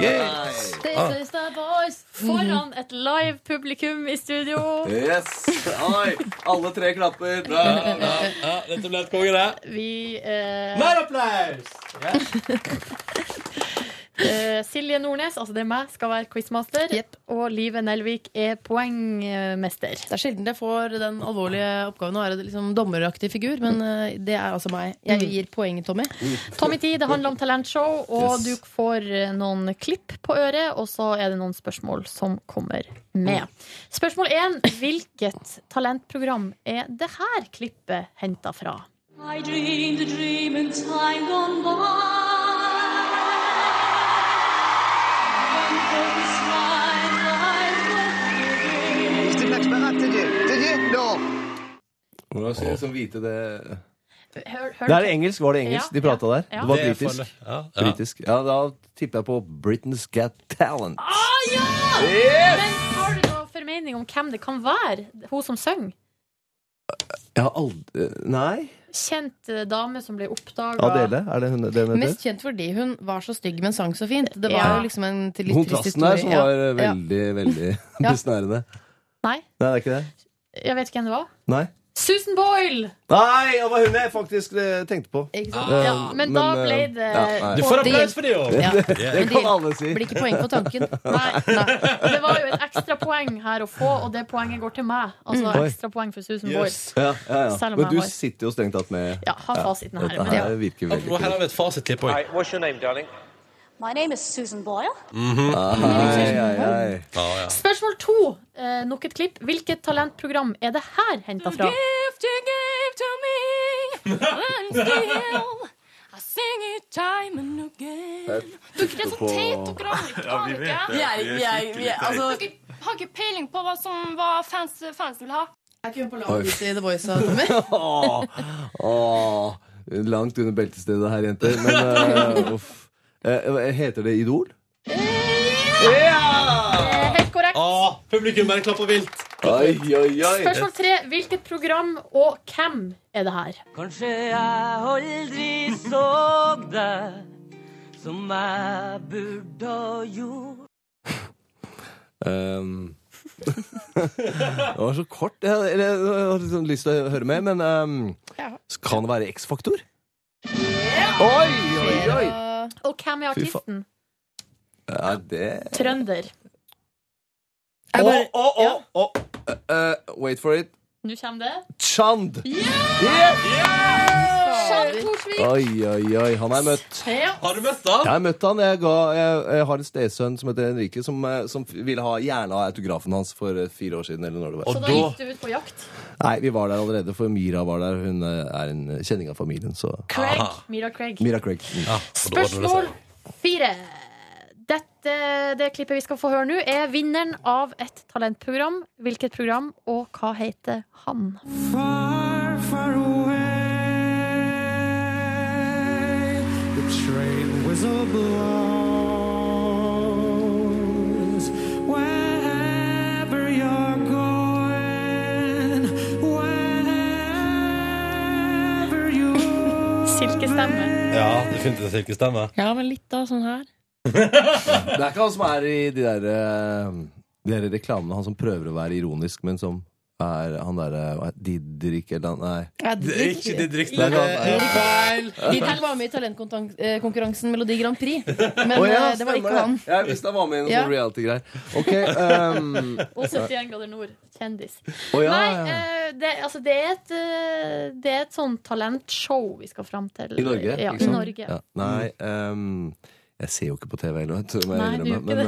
Speaker 2: yes. Ah.
Speaker 3: This is the boys Foran et live publikum i studio.
Speaker 10: Yes! Oi, alle tre klapper. Bra! bra.
Speaker 2: Ja, dette ble et konge, det.
Speaker 3: Vi eh,
Speaker 2: Mer applaus!
Speaker 3: eh, Silje Nordnes, altså det er meg, skal være quizmaster. Og Live Nelvik er poengmester.
Speaker 5: Det er sjelden jeg får den alvorlige oppgaven å være liksom dommeraktig figur, men eh, det er altså meg. Jeg gir poeng, Tommy.
Speaker 3: Tommy Tee, det handler om talentshow, og
Speaker 5: Yes.
Speaker 3: du får eh, noen klipp på øret, og så er det noen spørsmål som kommer med.
Speaker 10: Mm.
Speaker 3: Spørsmål én. Hvilket talentprogram er det her klippet henta fra?
Speaker 13: I dreamed a dream in time gone by. When things like life were living.
Speaker 10: Hvordan skal jeg som vite det
Speaker 3: Hør,
Speaker 10: Det er engelsk, var det engelsk de prata der?
Speaker 3: ja.
Speaker 10: Det var
Speaker 2: Det er farlig.
Speaker 10: britisk.
Speaker 2: Ja, ja.
Speaker 10: britisk. ja da tipper jeg på Britain's Got Talent.
Speaker 3: Ah, ja!
Speaker 10: Yes!
Speaker 3: Men har du noen formening om hvem det kan være? Hun som synger?
Speaker 10: Jeg har aldri Nei?
Speaker 3: Kjent eh, dame som ble oppdaga
Speaker 10: Adele? Er det hun det hun heter?
Speaker 5: Mest kjent fordi hun var så stygg, men sang så fint. Det var
Speaker 3: Ja.
Speaker 5: jo liksom en til- litt trist
Speaker 10: Kontrasten
Speaker 5: historie.
Speaker 10: der som var eh,
Speaker 5: Ja.
Speaker 10: veldig, veldig
Speaker 5: Ja.
Speaker 10: besnærende.
Speaker 3: Nei,
Speaker 10: Nei, det er ikke det?
Speaker 3: jeg vet ikke hvem det var.
Speaker 10: Nei?
Speaker 3: Susan Boyle!
Speaker 10: Nei, det var hun jeg faktisk eh, tenkte på.
Speaker 5: Ikke sant?
Speaker 10: Eh,
Speaker 3: Ja, men da
Speaker 10: eh,
Speaker 3: ble det-
Speaker 10: ja, nei.
Speaker 2: Du får
Speaker 5: Det-
Speaker 2: applaus for det, jo!
Speaker 5: Ja.
Speaker 10: Det, det
Speaker 5: Men det-
Speaker 10: kan alle si.
Speaker 5: Blir ikke poeng på tanken.
Speaker 3: Nei, Det var jo et ekstrapoeng her å få, og det poenget går til meg. Altså
Speaker 10: Mm. Oi.
Speaker 3: ekstrapoeng for Susan Boyle.
Speaker 2: Yes.
Speaker 10: Ja, ja, ja.
Speaker 3: Selv om
Speaker 10: Men
Speaker 3: jeg
Speaker 10: du
Speaker 3: har-
Speaker 10: sitter jo strengt tatt med
Speaker 3: Ja, ha fasiten her.
Speaker 10: Dette
Speaker 3: Men
Speaker 10: her virker veldig
Speaker 2: Nå her har vi et fasitklipp òg.
Speaker 7: What's your name, darling?
Speaker 13: My name is Susan Boyle.
Speaker 10: Ai, ai, ai.
Speaker 3: Spørsmål to. Eh, nok et klipp. Hvilket talentprogram er det her henta fra?
Speaker 13: Gift you gave to me, and still I sing it time and again.
Speaker 3: Det er så teit og gravlig. aner ikke.
Speaker 13: Dere har ikke peiling på hva, som, hva fans, fansen vil ha.
Speaker 5: Er ikke hun på laget i The Voice, da, Tommy?
Speaker 10: Åh, åh. Langt under beltestedet her, jenter. Men eh, uff. Eh, heter det Idol?
Speaker 3: Eh, Helt korrekt.
Speaker 2: Ah, publikum bare klapper vilt.
Speaker 10: Oi, oi, oi.
Speaker 3: Spørsmål tre. Hvilket program og hvem er det her?
Speaker 14: Kanskje jeg aldri så deg som jeg burde ha gjort.
Speaker 10: Um, Det var så kort. Jeg hadde, eller, jeg hadde liksom lyst til å høre mer, men ehm, kan det være X-faktor? Oi, oi, oi!
Speaker 3: Og hvem er
Speaker 10: Fy faen.
Speaker 3: artisten?
Speaker 10: Ja, det
Speaker 3: Trønder.
Speaker 10: Å, å, å! å. Eh, eh, Wait for it.
Speaker 3: Nå kommer det.
Speaker 10: Chand! Yeah!
Speaker 3: Jean Torsvik!
Speaker 10: Oi, oi, oi. Han har jeg møtt.
Speaker 3: Ja.
Speaker 2: Har du møtt ham?
Speaker 10: Jeg har møtt han. Jeg, ga, jeg, jeg har en stesønn som heter Henrike, som, eh, som ville ha, gjerne ha autografen hans for eh, fire år siden. Eller når det var.
Speaker 3: Så da gikk du ut på jakt.
Speaker 10: Nei, vi var der allerede, for Mira var der. Hun eh, er en kjenning av familien, så
Speaker 3: Craig. Mira Craig.
Speaker 10: Mira Craig.
Speaker 3: Spørsmål fire. Dette, det klippet vi skal få høre nå, er vinneren av et talentprogram. Hvilket program, og hva heter han?
Speaker 6: The train whistle blows wherever you're going, wherever you
Speaker 3: Silkestemme.
Speaker 2: Ja, definitivt silkestemme.
Speaker 5: Ja, men litt da, sånn her.
Speaker 10: Det er ikke han som er i de der, eh, de der reklamene, han som prøver å være ironisk, men som er han derre uh, Didrik eller han- Nei.
Speaker 5: Ja, Didrik. Det er ikke Didrik.
Speaker 10: Det er ikke han,
Speaker 5: Didrik.
Speaker 10: ja.
Speaker 2: Feil!
Speaker 5: Didrik var med i talentkonkurransen Melodi Grand Prix, men
Speaker 10: Å ja,
Speaker 5: eh, det var
Speaker 10: stemmer
Speaker 5: ikke han.
Speaker 10: det. Jeg visste han var med i noen
Speaker 5: Ja.
Speaker 10: sånne reality-greier. Ok, ehm,
Speaker 3: Og 71 grader nord. Kjendis.
Speaker 10: Å, ja,
Speaker 3: Nei,
Speaker 10: ja.
Speaker 3: eh, det, altså, det er et eh, Det er et sånn talentshow vi skal fram til.
Speaker 10: I Norge?
Speaker 3: Ja,
Speaker 10: ikke
Speaker 3: i
Speaker 10: sant?
Speaker 3: Norge.
Speaker 10: Ja. Nei, ehm, jeg ser jo ikke på TV heller, vet du. må jeg
Speaker 3: Nei, du gjør
Speaker 10: innrømme,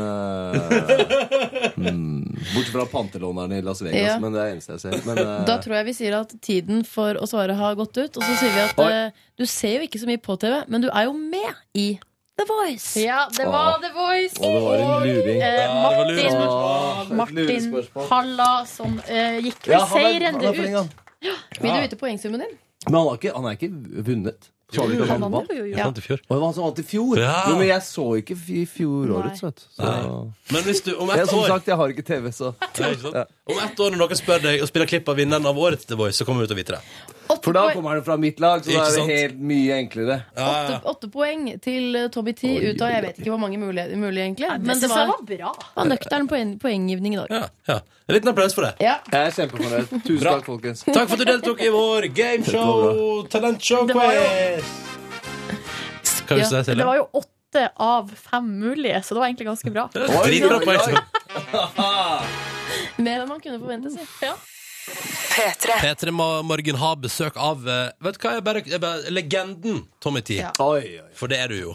Speaker 10: men, eh, mm, bortsett fra pantelåneren i Las Vegas,
Speaker 5: Ja.
Speaker 10: men det er det eneste jeg ser. Men, eh,
Speaker 5: Da tror jeg vi sier at tiden for å svare har gått ut. Og så sier vi at
Speaker 10: Oi.
Speaker 5: eh, du ser jo ikke så mye på TV, men du er jo med i The Voice.
Speaker 3: Ja, det var
Speaker 5: Åh.
Speaker 3: The Voice.
Speaker 5: Åh, det var en luring.
Speaker 3: Eh,
Speaker 5: Ja, det var
Speaker 3: Martin,
Speaker 5: lurespørsmål. Åh,
Speaker 3: Martin
Speaker 10: lurespørsmål.
Speaker 3: Halla, som eh, gikk
Speaker 10: Ja, han er- han
Speaker 3: seirende
Speaker 10: er flink, han.
Speaker 3: ut. Ja.
Speaker 5: Vil du vite poengsummen din?
Speaker 10: men han har ikke, han er ikke vunnet.
Speaker 5: Jo,
Speaker 10: Så ikke
Speaker 5: han
Speaker 10: han
Speaker 5: vant
Speaker 10: vant.
Speaker 5: jo, jo, jo. Han vant
Speaker 2: i fjor.
Speaker 10: Og han vant- han vant i fjor.
Speaker 2: Ja.
Speaker 10: Jo, men jeg så ikke i fjorårets, vet du. Så-
Speaker 2: Men hvis du om
Speaker 10: Jeg,
Speaker 2: ett
Speaker 10: som
Speaker 2: år
Speaker 10: sagt, jeg har ikke TV, så
Speaker 2: Det er ikke sant. Om ett år når noen spør deg og spiller klipp av vinneren av årets The Voice, så kommer vi ut og vite det.
Speaker 10: For da kommer det fra mitt lag, så da
Speaker 2: Ikke
Speaker 10: er det
Speaker 2: sant?
Speaker 10: helt mye enklere.
Speaker 5: Åtte, åtte poeng til eh, Toby T ut av jeg vet ikke hvor mange mulig, mulig egentlig. Men det
Speaker 3: synes jeg
Speaker 5: var,
Speaker 3: var bra.
Speaker 5: var nøktern poeng, poenggivning i dag.
Speaker 2: Ja. En liten applaus for det.
Speaker 10: Jeg er kjempefornøyd. Tusen takk, folkens.
Speaker 2: Takk for at du deltok i vår gameshow, talentshow
Speaker 3: Det var jo-
Speaker 2: quiz. Hva vil du si,
Speaker 3: det
Speaker 2: Silje?
Speaker 3: var jo åtte av fem mulige, så det var egentlig ganske bra.
Speaker 2: Dritbra poeng.
Speaker 5: Mer enn man kunne forvente, si. Ja.
Speaker 15: P3.
Speaker 2: P3 Mo- Morgen har besøk av eh, Vet du hva, jeg bare, jeg bare Legenden Tommy T.
Speaker 5: Ja.
Speaker 2: For det er du jo.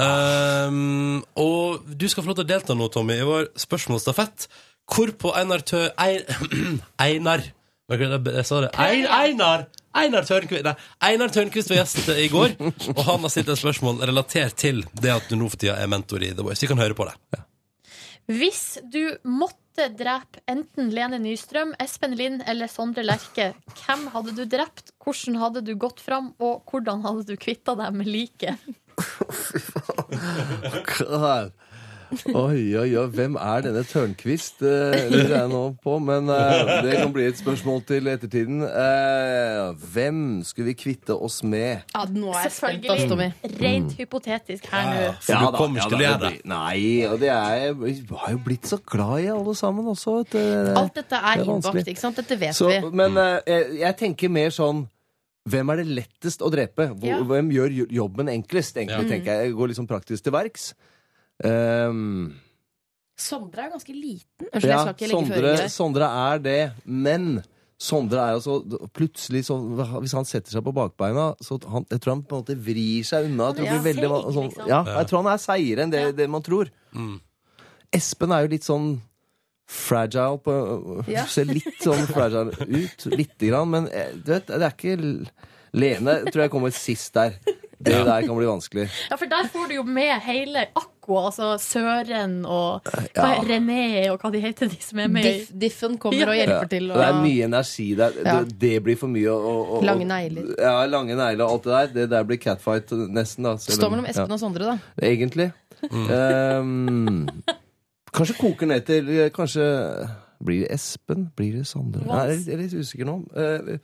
Speaker 2: Ehm, og du skal få lov til å delta nå, Tommy, i vår spørsmålsstafett. Hvorpå Einar Tø... Ei- Einar Merker du det? Jeg sa det. Ein, Einar! Einar Tørnquist Nei, Einar Tørnquist var gjest i går, og han har stilt et spørsmål relatert til det at du nå for tida er mentor i The Voice. Vi kan høre på det.
Speaker 3: Hvis du måtte drepe enten Lene Nystrøm, Espen Lind eller Sondre Lerche, hvem hadde du drept, hvordan hadde du gått fram, og hvordan hadde du kvitta deg med liket?
Speaker 10: God. Oi, oi, oi. Hvem er denne Tørnquist? eh, lurer jeg nå på. Men eh, det kan bli et spørsmål til ettertiden. Eh, hvem skulle vi kvitte oss med?
Speaker 5: Ja, nå er jeg spent, ass, Tommy.
Speaker 3: Selvfølgelig. Rent hypotetisk her nå.
Speaker 10: For
Speaker 2: du kommer ikke til å gjøre
Speaker 10: det. blir- Nei, og det er, jeg har jo blitt så glad i alle sammen også. Vet du.
Speaker 5: Alt dette er
Speaker 10: Det er vanskelig.
Speaker 5: innbakt, ikke sant? Dette vet
Speaker 10: Så,
Speaker 5: vi.
Speaker 10: men eh, jeg, jeg tenker mer sånn hvem er det lettest å drepe? Hvor,
Speaker 5: Ja.
Speaker 10: Hvem gjør jo- jobben enklest? Egentlig,
Speaker 5: Ja.
Speaker 10: tenker jeg. jeg går liksom praktisk til verks. Ehm,
Speaker 5: Sondre er jo ganske liten.
Speaker 10: ja, Sondre, Sondre er det, men Sondre er altså plutselig sånn Hvis han setter seg på bakbeina, så han, jeg tror han på en måte vrir seg unna. Jeg tror,
Speaker 2: Han
Speaker 10: det
Speaker 2: er
Speaker 10: blir veldig,
Speaker 2: seig,
Speaker 10: sånn,
Speaker 2: liksom.
Speaker 10: ja,
Speaker 2: Ja.
Speaker 10: jeg tror han er seigere enn det, det man tror. Espen er jo litt sånn fragile på
Speaker 2: Ja.
Speaker 10: Ser litt sånn fragile ut, lite grann, men eh, du vet, det er ikke l- Lene tror jeg kommer sist der. Det
Speaker 2: Ja.
Speaker 10: der kan bli vanskelig.
Speaker 3: Ja, for der får du jo med hele Aqua, altså Søren og hva,
Speaker 10: Ja.
Speaker 3: René og hva de heter, de som er med i
Speaker 5: Diff, diffen kommer og hjelper til.
Speaker 10: Ja. Det er mye energi der.
Speaker 5: Ja.
Speaker 10: Det, det blir for mye å, å, å
Speaker 5: Lange negler.
Speaker 10: Ja, lange negler og alt det der. Det der blir catfight nesten, da. selv
Speaker 5: Står
Speaker 10: om-
Speaker 5: mellom Espen
Speaker 10: ja.
Speaker 5: og Sondre, da.
Speaker 10: Egentlig. Ehm, kanskje koker ned til eh, Kanskje Blir det Espen? Blir det Sondre? Nei, jeg er litt- jeg er litt usikker nå. Eh,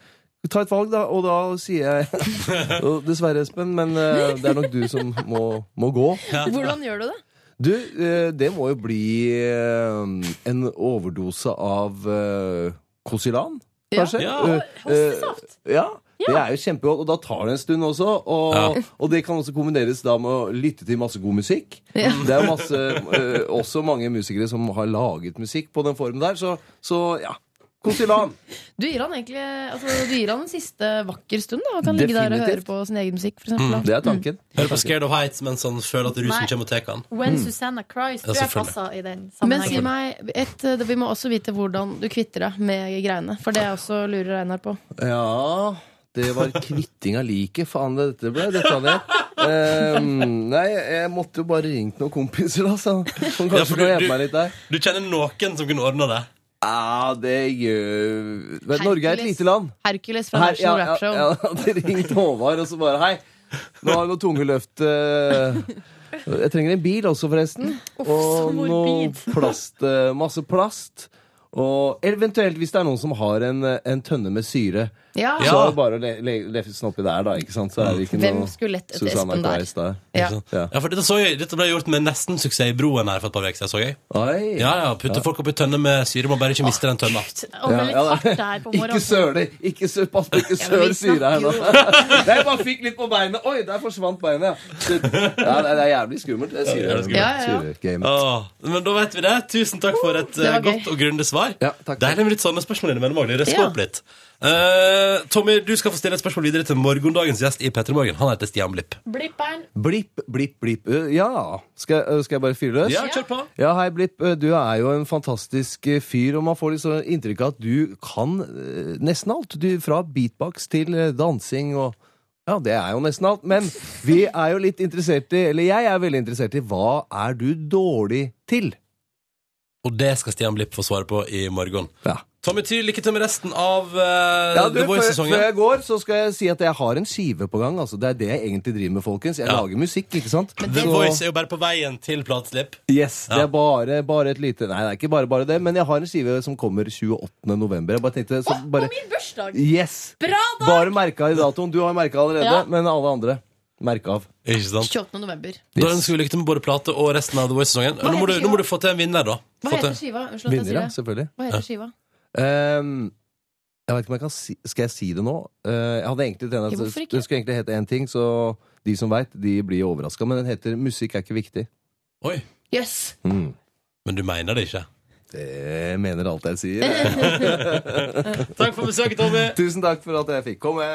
Speaker 10: ta et valg, da, og da sier jeg Og Dessverre, Espen, men eh, det er nok du som må, må gå.
Speaker 5: Hvordan gjør du det?
Speaker 10: Du, eh, det må jo bli eh, en overdose av eh, Kosilan,
Speaker 16: Ja.
Speaker 10: kanskje?
Speaker 16: Ja.
Speaker 10: Eh, eh, Ja.
Speaker 16: Ja.
Speaker 10: Det er jo kjempegodt, og da tar det en stund også. Og,
Speaker 16: Ja.
Speaker 10: og det kan også kombineres da med å lytte til masse god musikk.
Speaker 16: Ja.
Speaker 10: Det er jo masse, eh, også mange musikere som har laget musikk på den formen der, så, så ja. Kosilan.
Speaker 17: Du gir han egentlig altså, Du gir han en siste vakker stund, da. Og kan ligge der og høre
Speaker 2: Definitivt.
Speaker 17: på sin egen musikk, for
Speaker 10: Mm,
Speaker 17: eksempel. da.
Speaker 2: Hør på Scared of Heights mens han føler at
Speaker 3: Nei.
Speaker 2: rusen kommer og tar han.
Speaker 3: When Susanna Cries
Speaker 2: Ja,
Speaker 3: tror jeg
Speaker 2: selvfølgelig.
Speaker 3: passer i den
Speaker 17: Men si
Speaker 3: sammenhengen.
Speaker 17: meg, et, eh, vi må også vite hvordan du kvitter deg med greiene. For det er også lurer Einar på.
Speaker 10: Ja Det var kvitting av liket. Faen, det dette ble. Dette hadde jeg. Ehm, nei, jeg måtte jo bare ringt noen kompiser, da, så- som
Speaker 2: Ja,
Speaker 10: kanskje
Speaker 2: for
Speaker 10: kan hjelpe
Speaker 2: du,
Speaker 10: meg litt
Speaker 2: du,
Speaker 10: der.
Speaker 2: du kjenner noen som kunne ordna det?
Speaker 10: Ja, det gjør Men Norge er et
Speaker 17: Hercules.
Speaker 10: lite land.
Speaker 17: Hercules fra
Speaker 10: Her-
Speaker 17: National
Speaker 10: ja,
Speaker 17: Rap Show.
Speaker 10: Ja, ja, hadde ringt Håvard og så bare Hei, nå har vi noe tungeløft. eh, Jeg trenger en bil også, forresten. Og noe plast. eh, Masse plast. Og eventuelt, hvis det er noen som har en, eh, en tønne med syre,
Speaker 17: Ja.
Speaker 10: så
Speaker 17: Ja.
Speaker 10: er det bare å le- le- lefse den oppi der, da. Ikke sant? Så er det ikke
Speaker 17: Hvem
Speaker 10: noe
Speaker 17: skulle lett etter
Speaker 10: Susanne
Speaker 17: Espen der?
Speaker 10: Claes der.
Speaker 17: Ja.
Speaker 10: Ja.
Speaker 2: Ja, for dette, så jeg, dette ble gjort med nesten suksess i Broen her for et par uker siden, så jeg. Ja, ja, putte folk opp i tønne med syre, må bare ikke miste den tønna.
Speaker 3: Og det er litt hardt der på
Speaker 10: Ikke
Speaker 3: morgenen.
Speaker 10: søle! Ikke sø, pass på ikke
Speaker 3: Ja, men vi
Speaker 10: søl syre her nå.
Speaker 3: snakker
Speaker 10: Nei, Jeg bare fikk litt på beinet. Oi, der forsvant beinet, ja. Shit. Ja, det det er jævlig skummelt. Det
Speaker 2: Ja,
Speaker 10: syre,
Speaker 2: det er skummelt. Ja, ja, ja.
Speaker 10: syregamet.
Speaker 2: Åh, men da vet vi det. Tusen takk for et
Speaker 10: det
Speaker 2: eh,
Speaker 10: var
Speaker 2: godt og grundig svar. Deilig med litt sånne spørsmål innimellom. Agli. Det
Speaker 18: Ja.
Speaker 2: røsker opp litt. Eh, Tommy, du skal få stille et spørsmål videre til morgendagens gjest i P3 Morgen. Han heter Stian Blipp.
Speaker 3: Blipperen.
Speaker 10: Blipp, blipp, blipp. Ø, Ja, skal, ø, skal jeg bare fyre løs?
Speaker 2: Ja, kjør på.
Speaker 10: Ja, hei, Blipp. Ø, Du er jo en fantastisk ø, fyr, og man får litt sånn inntrykk av at du kan ø, nesten alt. Du, fra beatbox til ø, dansing og Ja, det er jo nesten alt. Men vi er jo litt interessert i, eller jeg er veldig interessert i, hva er du dårlig til?
Speaker 2: Og det skal Stian Blipp få svare på i morgen. Tommy Tyr, lykke til med resten av uh,
Speaker 10: Ja, du,
Speaker 2: The
Speaker 10: før, før
Speaker 2: Voice-sesongen.
Speaker 10: jeg går, så skal jeg si at jeg har en skive på gang. Altså, det er det jeg egentlig driver med, folkens. Jeg lager musikk, ikke sant?
Speaker 2: The
Speaker 10: Så-
Speaker 2: Voice er jo bare på veien til plateslipp.
Speaker 10: Yes, det er bare, bare et lite Nei, det er ikke bare bare det, men jeg har en skive som kommer 28. november. Jeg bare tenkte så
Speaker 3: På
Speaker 10: bare,
Speaker 3: min bursdag!
Speaker 10: Yes!
Speaker 3: Bra dag!
Speaker 10: Bare merka i datoen. Du har merka allerede,
Speaker 17: Ja.
Speaker 10: men alle andre merka av.
Speaker 2: Ikke sant?
Speaker 17: 28. november.
Speaker 2: Da ønsker vi lykke til med både plate og resten av The Voice-sesongen. Nå, må
Speaker 17: heter
Speaker 2: du- nå må du få til en vinner, da.
Speaker 17: Hva
Speaker 2: Få
Speaker 17: heter
Speaker 2: til-
Speaker 17: skiva? Unnskyld at jeg
Speaker 10: Vinner,
Speaker 17: sier
Speaker 10: ja.
Speaker 17: det.
Speaker 10: Selvfølgelig.
Speaker 17: Hva heter skiva?
Speaker 10: Ehm, jeg vet ikke om jeg kan si Skal jeg si det nå? Eh, jeg hadde egentlig tenkt
Speaker 17: Ja,
Speaker 10: at
Speaker 17: hvorfor
Speaker 10: det,
Speaker 17: ikke?
Speaker 10: skulle egentlig hete én ting, så de som veit, de blir overraska. Men den heter 'Musikk er ikke viktig'.
Speaker 2: Oi.
Speaker 17: Yes.
Speaker 10: Mm.
Speaker 2: Men du mener det ikke?
Speaker 10: Det mener alt jeg sier. jeg.
Speaker 2: Takk for besøket, Tommy.
Speaker 10: Tusen takk for at jeg fikk komme.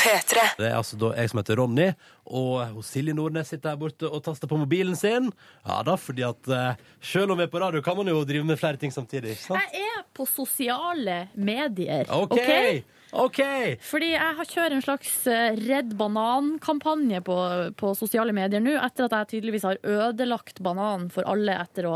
Speaker 19: P3.
Speaker 2: Det er altså da jeg som heter Ronny, og hos Silje Nordnes sitter her borte og taster på mobilen sin. Ja da, fordi at eh, selv om vi er på radio, kan man jo drive med flere ting samtidig. ikke sant?
Speaker 3: Jeg er på sosiale medier.
Speaker 2: Ok,
Speaker 3: Fordi jeg har kjørt en slags eh, Redd banan-kampanje på, på sosiale medier nå, etter at jeg tydeligvis har ødelagt bananen for alle etter å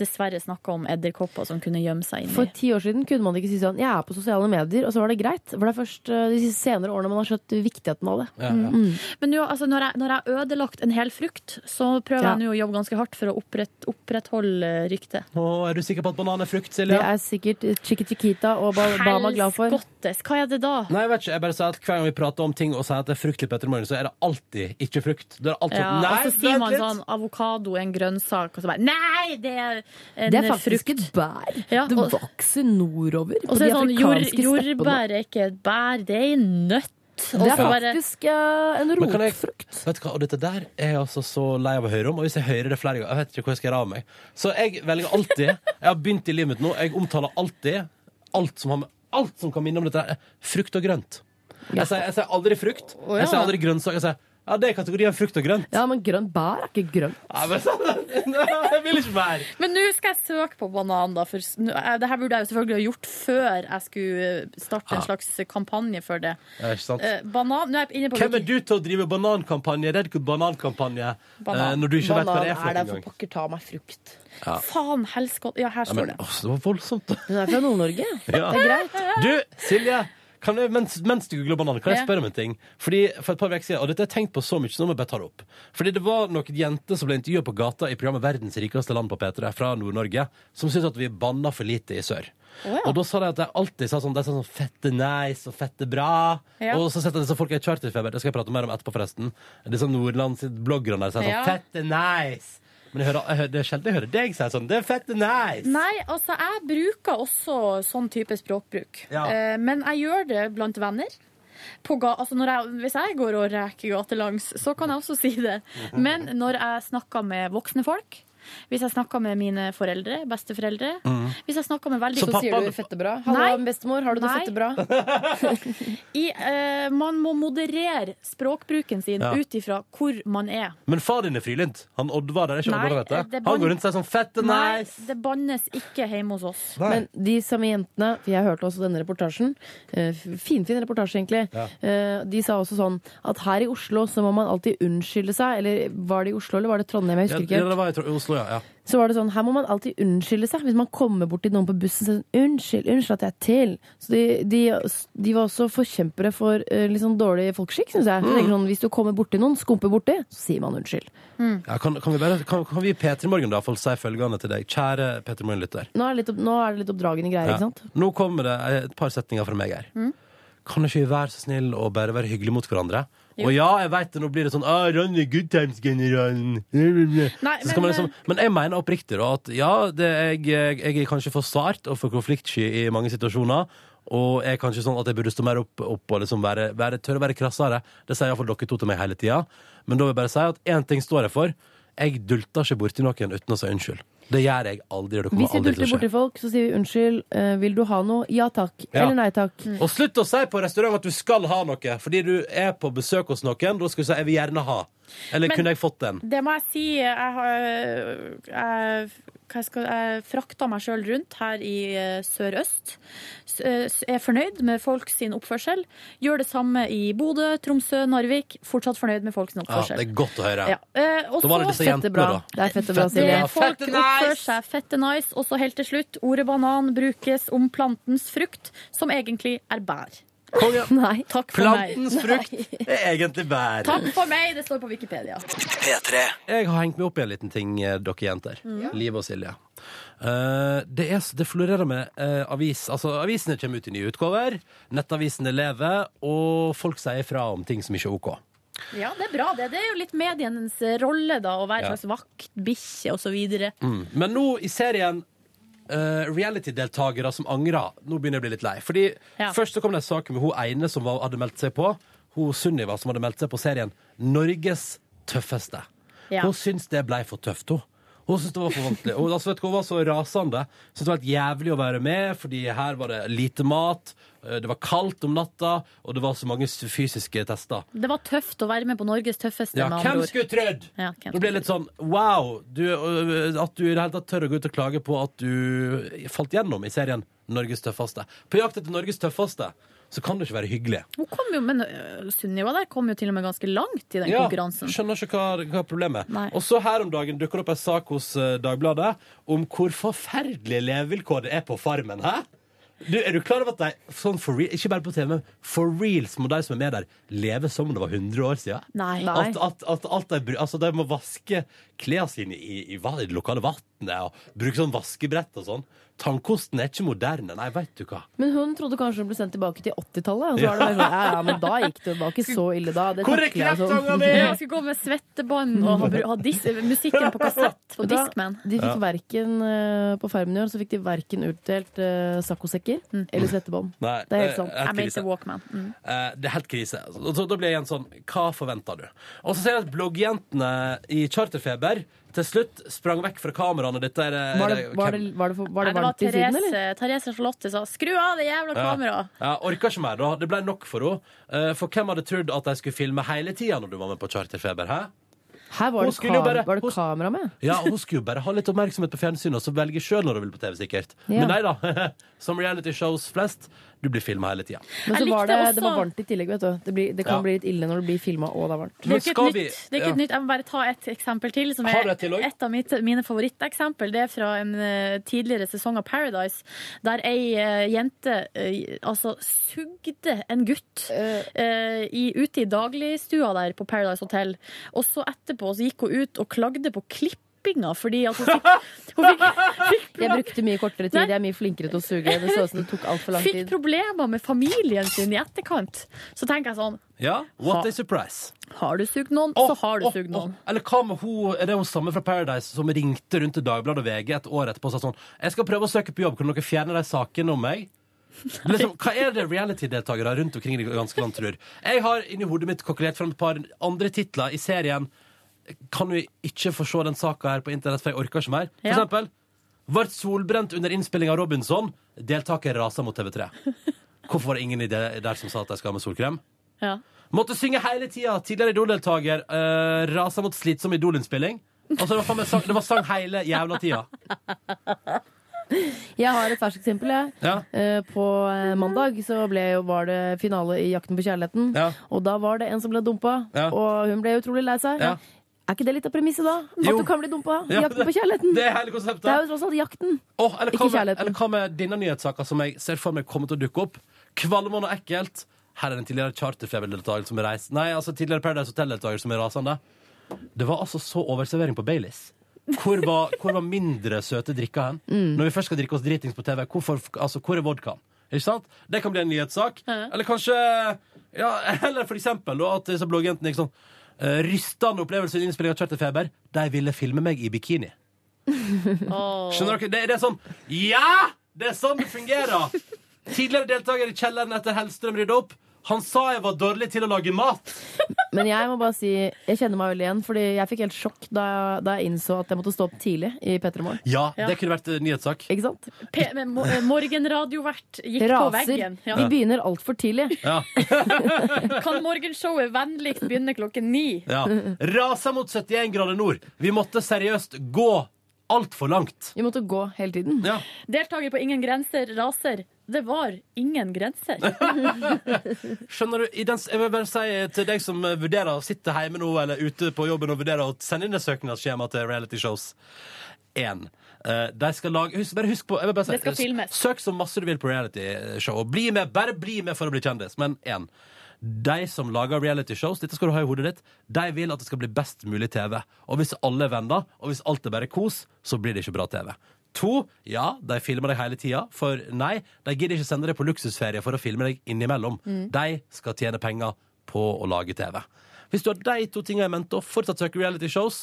Speaker 3: dessverre snakke om edderkopper som kunne gjemme seg inni.
Speaker 5: For ti år siden kunne man ikke si sånn Jeg er på sosiale medier, og så var det greit. For det er først eh, de siste senere årene man har skjønt viktigheten av det.
Speaker 3: Ja, ja.
Speaker 17: Mm.
Speaker 3: Men nå, altså, når, jeg, når jeg har ødelagt en hel frukt, så prøver
Speaker 5: Ja.
Speaker 3: jeg nå å jobbe ganske hardt for å opprett, opprettholde ryktet.
Speaker 2: Og er du sikker på at banan er frukt,
Speaker 5: Det
Speaker 2: Silje?
Speaker 5: er sikkert Chiqui Chiquita og Ba- Bama glad for.
Speaker 3: Helskottes, hva er det da?
Speaker 2: Nei, jeg vet ikke. Jeg bare sier at hver gang vi prater om ting og sier at det er frukt til Petter Morgen, så er det alltid ikke frukt. Det er alltid
Speaker 3: Ja,
Speaker 2: sånn, nei,
Speaker 3: og så sier
Speaker 2: vent
Speaker 3: man
Speaker 2: litt.
Speaker 3: sånn avokado er en grønnsak, og så bare nei, det er en
Speaker 5: Det er faktisk
Speaker 3: frukt.
Speaker 5: et bær.
Speaker 3: Ja,
Speaker 5: det
Speaker 3: og-
Speaker 5: vokser nordover.
Speaker 3: Og så er det sånn jord, jordbær er ikke et bær, det er en nøtt. Og
Speaker 5: Det er
Speaker 3: så bare-
Speaker 5: faktisk eh, en
Speaker 2: Men kan jeg-
Speaker 5: rotfrukt.
Speaker 2: Vet du hva, og dette der er jeg altså så lei av å høre om, og hvis jeg hører det flere ganger, jeg vet ikke hvor jeg skal gjøre av meg. Så jeg velger alltid, jeg har begynt i livet mitt nå, jeg omtaler alltid alt som, har med, alt som kan minne om dette, her, frukt og grønt. Jeg sier, jeg sier aldri frukt,
Speaker 5: ja.
Speaker 2: jeg sier aldri grønnsak, jeg sier, ja, det er kategorien frukt og grønt.
Speaker 5: Ja, men grønt bær er ikke grønt.
Speaker 2: Ja, men sånn, jeg vil ikke mer.
Speaker 3: Men nå skal jeg søke på banan, da. For s- nå- eh, det her burde jeg jo selvfølgelig ha gjort før jeg skulle eh, starte en
Speaker 2: Ja.
Speaker 3: slags kampanje for det.
Speaker 2: Ja, ikke sant?
Speaker 3: Eh, banan Nå er jeg inne på
Speaker 2: Hvem er du til å drive banankampanje, Red Good banankampanje, eh, når du ikke vet hva det er for
Speaker 5: er
Speaker 2: noe
Speaker 5: der for
Speaker 2: engang?
Speaker 5: pokker ta meg frukt.
Speaker 2: Ja.
Speaker 3: Faen helskott Ja, her
Speaker 2: Ja,
Speaker 3: står
Speaker 2: men,
Speaker 3: det.
Speaker 2: åh, det var voldsomt.
Speaker 5: Hun er fra Nord-Norge.
Speaker 2: Ja.
Speaker 5: Det er greit.
Speaker 2: Du, Silje, kan jeg, mens, mens du googler banan, kan jeg
Speaker 5: Ja.
Speaker 2: spørre om en ting? Fordi For et par uker siden, og dette har jeg tenkt på så mye, så nå må jeg bare ta det opp. Fordi det var noen jenter som ble intervjua på gata i programmet Verdens rikeste land på P3 fra Nord-Norge, som syntes at vi banna for lite i sør.
Speaker 18: Å, ja.
Speaker 2: Og da sa de at de alltid sa sånn, de sa sånn fette nice og fette bra.
Speaker 18: Ja.
Speaker 2: Og så setter disse folk i charterfeber. Det skal jeg prate mer om etterpå, forresten. Disse nordlandsbloggerne der sier sånn
Speaker 18: Ja.
Speaker 2: fette nice. Men jeg hører, jeg hører, det er sjelden jeg hører deg si sånn. Det er fett nice!
Speaker 3: Nei, altså jeg bruker også sånn type språkbruk.
Speaker 2: Ja.
Speaker 3: Eh, Men jeg gjør det blant venner. På ga altså når jeg, hvis jeg går og reker gatelangs, så kan jeg også si det. Men når jeg snakker med voksne folk, hvis jeg snakker med mine foreldre, besteforeldre
Speaker 2: Mm.
Speaker 9: Mhm.
Speaker 3: Hvis jeg snakker med veldig
Speaker 9: Så sier du fette bra? Hallo, bestemor, har du det fette bra?
Speaker 3: I, eh, man må moderere språkbruken sin
Speaker 2: Ja.
Speaker 3: ut ifra hvor man er.
Speaker 2: Men far din er frilynt. Han Oddvar der er ikke
Speaker 3: Nei,
Speaker 2: Oddvar han heter.
Speaker 3: det
Speaker 2: Han
Speaker 3: er ban-
Speaker 2: går rundt og sier sånn fett
Speaker 3: Nei,
Speaker 2: nice!
Speaker 3: det bannes ikke hjemme hos oss.
Speaker 5: Men de samme jentene, for jeg hørte også denne reportasjen, eh, finfin reportasje egentlig,
Speaker 3: Ja.
Speaker 5: eh, de sa også sånn at her i Oslo så må man alltid unnskylde seg, eller var det i Oslo eller var det Trondheim, jeg
Speaker 2: Ja,
Speaker 5: husker
Speaker 2: ja,
Speaker 5: ikke.
Speaker 2: det var i Tro- Oslo, ja. ja.
Speaker 5: Så var det sånn, her må man alltid unnskylde seg. Hvis man kommer bort til noen på bussen og sier sånn, unnskyld, unnskyld at jeg er til. Så de, de, de var også forkjempere for eh, litt sånn dårlig folkeskikk, synes jeg. Så jeg tenker sånn, hvis du kommer borti noen, skumper borti, så sier man unnskyld.
Speaker 2: Ja, kan, kan vi, bare- kan, kan vi i P3 Morgen da få si følgende til deg? Kjære P3 Morgen-lytter.
Speaker 5: Nå er det litt, opp, nå er det litt oppdragende greier,
Speaker 2: Ja.
Speaker 5: ikke sant? Mm.
Speaker 2: Nå kommer det eh, et par setninger fra meg her. Kan ikke vi være så snill og bare være hyggelige mot hverandre?
Speaker 20: Jo.
Speaker 2: Og ja, jeg vet det, nå blir det sånn ah, Ronny, good times, generalen.
Speaker 5: eh,
Speaker 2: Nei, men,
Speaker 20: men-
Speaker 2: liksom, men jeg mener oppriktig da, at ja, det, jeg, jeg er kanskje for sart og for konfliktsky i mange situasjoner. Og jeg er kanskje sånn at jeg burde stå mer opp, opp og liksom være, være, tørre å være krassere. Det sier iallfall dere to til meg hele tida. Men da vil jeg bare si at én ting står jeg for. Jeg dulter ikke borti noen uten å si unnskyld. Det gjør jeg aldri. og Det
Speaker 5: Hvis
Speaker 2: kommer
Speaker 5: vi
Speaker 2: aldri til
Speaker 5: dulter
Speaker 2: å skje.
Speaker 5: borti folk, så sier vi unnskyld, eh, vil du ha noe? Ja takk.
Speaker 2: Ja.
Speaker 5: Eller nei takk.
Speaker 3: Mm.
Speaker 2: Og slutt å si på restaurant at du skal ha noe, fordi du er på besøk hos noen. Da skal du si 'jeg vil gjerne ha'. Eller
Speaker 3: Men-
Speaker 2: kunne jeg fått den?
Speaker 3: Det må jeg si. Jeg har jeg, hva jeg skal, jeg frakta meg sjøl rundt her i eh, Sør-Øst. S- eh, s- Er fornøyd med folk sin oppførsel. Gjør det samme i Bodø, Tromsø, Narvik. Fortsatt fornøyd med folk sin
Speaker 2: Ja,
Speaker 3: oppførsel.
Speaker 2: det er godt å høre.
Speaker 3: Ja. Eh, og
Speaker 2: Da var
Speaker 3: så-
Speaker 2: det disse jentene, da.
Speaker 3: Det er folk
Speaker 2: Fette
Speaker 3: oppfører seg fette nice. Og så helt til slutt, ordet banan brukes om plantens frukt, som egentlig er bær.
Speaker 5: Nei.
Speaker 3: Takk for
Speaker 2: Plantens
Speaker 3: meg.
Speaker 2: frukt er egentlig bær.
Speaker 3: Takk for meg, det står på Wikipedia.
Speaker 2: Jeg har hengt meg opp i en liten ting, eh, dere jenter.
Speaker 3: Mm. Ja.
Speaker 2: Liv og Silje. Eh, det, er, s- det florerer med eh, avis. Altså, avisene kommer ut i nye utgaver. Nettavisene lever, og folk sier fra om ting som ikke er OK.
Speaker 3: Ja, det er bra. Det, det er jo litt medienes rolle, da, å være
Speaker 2: Ja.
Speaker 3: en slags vaktbikkje osv.
Speaker 2: Mm. Men nå i serien eh, reality-deltagere som angrer, nå begynner jeg å bli litt lei. Fordi
Speaker 20: Ja.
Speaker 2: Først så kom det en sak med hun ene som var, hadde meldt seg på. Hun Sunniva som hadde meldt seg på serien Norges tøffeste.
Speaker 20: Ja.
Speaker 2: Hun syntes det ble for tøft, hun. Hun syntes det var for vanskelig. Hun, altså, vet du, hun var så rasende. Syntes det var helt jævlig å være med, fordi her var det lite mat, eh, det var kaldt om natta, og det var så mange s- fysiske tester.
Speaker 3: Det var tøft å være med på Norges tøffeste,
Speaker 2: Ja,
Speaker 3: med
Speaker 2: hvem
Speaker 3: andre ord.
Speaker 2: skulle trodd?
Speaker 3: Ja, hvem
Speaker 2: Nå blir det litt sånn wow! Du, øh, at du i det hele tatt tør å gå ut og klage på at du falt gjennom i serien Norges tøffeste. På jakt etter Norges tøffeste så kan det ikke være hyggelig.
Speaker 3: Hun kom jo, men øh, Sunniva der kom jo til og med ganske langt i den konkurransen.
Speaker 2: Skjønner ikke hva, hva problemet
Speaker 3: Nei.
Speaker 2: er. Og så her om dagen dukker det opp en sak hos eh, Dagbladet om hvor forferdelige levevilkår det er på Farmen. Hæ? Du, er du klar over at de, sånn for real, ikke bare på TV, men for reals må de som er med der, leve som om det var 100 år siden?
Speaker 3: Nei. Nei.
Speaker 2: At, at, at, alt de, bru- altså, de må vaske klærne sine i, i, va- i det lokale vannet og bruke sånn vaskebrett og sånn. Tannkosten er ikke moderne. Nei, veit du hva.
Speaker 5: Men hun trodde kanskje hun ble sendt tilbake til 80-tallet. Og så var det bare sånn, ja, ja, men da gikk det jo bare ikke så ille da. Det
Speaker 3: Hvor er
Speaker 5: takler jeg, sånn.
Speaker 3: kleptonga mi? Ja, skal gå med svettebånd og ha, bru- ha dis musikken på kassett på
Speaker 5: Da-
Speaker 3: Discman.
Speaker 5: De fikk
Speaker 3: Ja.
Speaker 5: verken eh, på Farmen i år, så fikk de verken utdelt uh, saccosekker
Speaker 3: Mm.
Speaker 5: eller svettebånd.
Speaker 2: Nei,
Speaker 5: det er
Speaker 2: eh,
Speaker 5: helt sant.
Speaker 2: helt Jeg mente krise.
Speaker 3: Walkman. Mm.
Speaker 2: Eh, det er helt krise. Og så, da blir jeg igjen sånn Hva forventer du? Og så ser jeg at bloggjentene i Charterfeber til slutt sprang vekk fra kameraene. Dette er, eh, er
Speaker 5: Var det, var det, var det, var det
Speaker 3: Nei,
Speaker 5: varmt i
Speaker 3: Therese,
Speaker 5: siden, eller?
Speaker 3: Therese Charlotte sa 'skru av det jævla kameraet'.
Speaker 2: Ja, ja, orka ikke mer, da. Det ble nok for henne. Eh, for hvem hadde trodd at de skulle filme hele tida når du var med på Charterfeber? Hæ?
Speaker 5: Her var
Speaker 2: Hun
Speaker 5: det,
Speaker 2: skulle jo
Speaker 5: kam
Speaker 2: bare-
Speaker 5: var det kamera med.
Speaker 2: Ja, og Hun skulle jo bare ha litt oppmerksomhet på fjernsynet, og så velge sjøl når hun vil på TV, sikkert.
Speaker 5: Ja.
Speaker 2: Men nei da. Som reality shows flest, du blir filma hele tida.
Speaker 5: Men så var det,
Speaker 3: likte
Speaker 5: det var
Speaker 3: også-
Speaker 5: varmt i tillegg, vet du. Det, blir, det kan
Speaker 2: Ja.
Speaker 5: bli litt ille når det blir filma og det er varmt.
Speaker 3: Det er jo ikke, et nytt, det er ikke et nytt. Jeg må bare ta et eksempel til. Som
Speaker 5: Har
Speaker 3: er
Speaker 5: du et til også?
Speaker 3: av mitt, mine favoritteksempel. Det er fra en eh, tidligere sesong av Paradise, der ei eh, jente eh, altså sugde en gutt eh, i, ute i dagligstua der på Paradise Hotel. Og så etterpå så gikk hun ut og klagde på klipp klippinga, fordi at hun fikk, hun fikk,
Speaker 5: Jeg brukte mye kortere tid, jeg er mye flinkere til å suge. Det så ut som det tok altfor lang
Speaker 3: fikk
Speaker 5: tid.
Speaker 3: problemer med familien sin i etterkant. Så tenker jeg sånn
Speaker 2: Ja, what a surprise.
Speaker 3: Har du sugd noen, så har du sugd noen.
Speaker 2: Eller hva med hun, er det hun samme fra Paradise som ringte rundt til Dagbladet og VG et år etterpå og sa sånn Jeg skal prøve å søke på jobb, kan dere fjerne de sakene om meg? Men Liksom, hva er det reality-deltakere rundt omkring i det ganske land tror? Jeg har inni hodet mitt kokkelert fram et par andre titler i serien. Kan vi ikke få se den saka her på internett, for jeg orker ikke mer? For
Speaker 3: Ja.
Speaker 2: eksempel Vart solbrent under innspilling av Robinson. Deltaker rasa mot TV3. Hvorfor var det ingen i det der som sa at de skal ha med solkrem?
Speaker 3: Ja.
Speaker 2: Måtte synge hele tida. Tidligere Idol-deltaker uh, rasa mot slitsom Idol-innspilling. Altså, det, var faen meg sang, det var sang hele jævla tida.
Speaker 5: Jeg har et ferskt eksempel. Jeg.
Speaker 2: Ja.
Speaker 5: Eh, På eh, mandag så ble jo, var det finale i Jakten på kjærligheten. Og da var det en som ble dumpa,
Speaker 2: Ja.
Speaker 5: og hun ble utrolig lei seg.
Speaker 2: Ja.
Speaker 5: Er ikke det litt av premisset, da? At
Speaker 2: Jo.
Speaker 5: du kan bli dumpa i
Speaker 2: Ja,
Speaker 5: Jakten
Speaker 2: det-
Speaker 5: på kjærligheten?
Speaker 2: det er hele konseptet.
Speaker 5: Det er jo tross alt jakten.
Speaker 2: Åh, eller, hva
Speaker 5: Ikke
Speaker 2: med,
Speaker 5: kjærligheten.
Speaker 2: eller hva med denne nyhetssaka som jeg ser for meg kommer til å dukke opp? Kvalmende og ekkelt. Her er en tidligere charterfeberdeltaker som er reist Nei, altså tidligere Paradise Hotel-deltaker som er rasende. Det var altså så overservering på Baileys. Hvor var, hvor var mindre søte drikker hen?
Speaker 5: Mm.
Speaker 2: Når vi først skal drikke oss dritings på TV, hvorfor, altså, hvor er vodkaen? Ikke sant? Det kan bli en nyhetssak. Eller kanskje ja, Eller for eksempel da, at disse bloggjentene ikke sånn eh, Rystende opplevelse i innspilling av Charterfeber. De ville filme meg i bikini. Skjønner dere? Det, det er sånn Ja! Det er sånn det fungerer! Tidligere deltaker i kjelleren etter Hellstrøm rydda opp. Han sa jeg var dårlig til å lage mat.
Speaker 5: Men jeg må bare si, jeg kjenner meg veldig igjen, fordi jeg fikk helt sjokk da, da jeg innså at jeg måtte stå opp tidlig i P3 Morgen.
Speaker 2: Ja,
Speaker 5: Ja.
Speaker 2: det kunne vært eh, nyhetssak.
Speaker 5: Ikke sant?
Speaker 3: P men mo- eh, Morgenradiovert gikk på
Speaker 5: Raser.
Speaker 3: veggen.
Speaker 5: De begynner altfor tidlig.
Speaker 2: Ja.
Speaker 3: Kan morgenshowet vennligst begynne klokken ni?
Speaker 2: ja. Rasa mot 71 grader nord. Vi måtte seriøst gå altfor langt.
Speaker 5: Vi måtte gå hele tiden.
Speaker 2: Ja.
Speaker 3: Deltaker på Ingen grenser raser. Det var ingen grenser.
Speaker 2: Skjønner du, i den, s- jeg vil bare si til deg som eh, vurderer å sitte hjemme nå eller ute på jobben og vurderer å sende inn et søknadsskjema til reality shows. En. eh, de skal lage husk, Bare husk på jeg vil bare si,
Speaker 3: Det skal filmes.
Speaker 2: Søk så masse du vil på reality show. Og bli med, bare bli med for å bli kjendis. Men én. De som lager reality shows, dette skal du ha i hodet ditt, de vil at det skal bli best mulig TV. Og hvis alle er venner, og hvis alt er bare kos, så blir det ikke bra TV. To, ja, de filmer deg hele tida, for nei, de gidder ikke sende deg på luksusferie for å filme deg innimellom.
Speaker 20: Mm.
Speaker 2: De skal tjene penger på å lage TV. Hvis du har de to tingene i mente og fortsatt søker reality shows,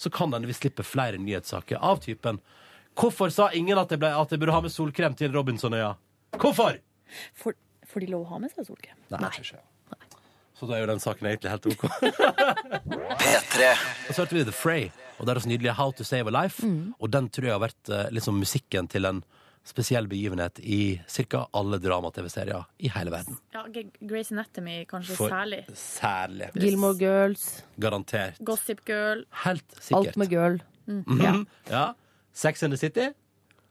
Speaker 2: så kan den vi slippe flere nyhetssaker av typen Hvorfor sa ingen at jeg, ble, at jeg burde ha med solkrem til Robinson-øya? Hvorfor?
Speaker 3: For, får de lov å ha med seg solkrem?
Speaker 2: Nei, jeg tror ikke. Så da er jo den saken egentlig helt OK. P3. Og så hørte vi The Fray og deres nydelige How to Save a Life.
Speaker 5: Mm.
Speaker 2: Og den tror jeg har vært eh, liksom musikken til en spesiell begivenhet i ca. alle drama-TV-serier i hele verden.
Speaker 3: Ja, G- Grey's Anatomy kanskje
Speaker 2: For-
Speaker 3: særlig.
Speaker 2: Særlig.
Speaker 5: Gilmore Girls.
Speaker 2: Garantert.
Speaker 3: Gossip Girl.
Speaker 2: Helt sikkert.
Speaker 5: Alt med girl.
Speaker 2: Mhm.
Speaker 5: Ja.
Speaker 2: ja. Sex and the City?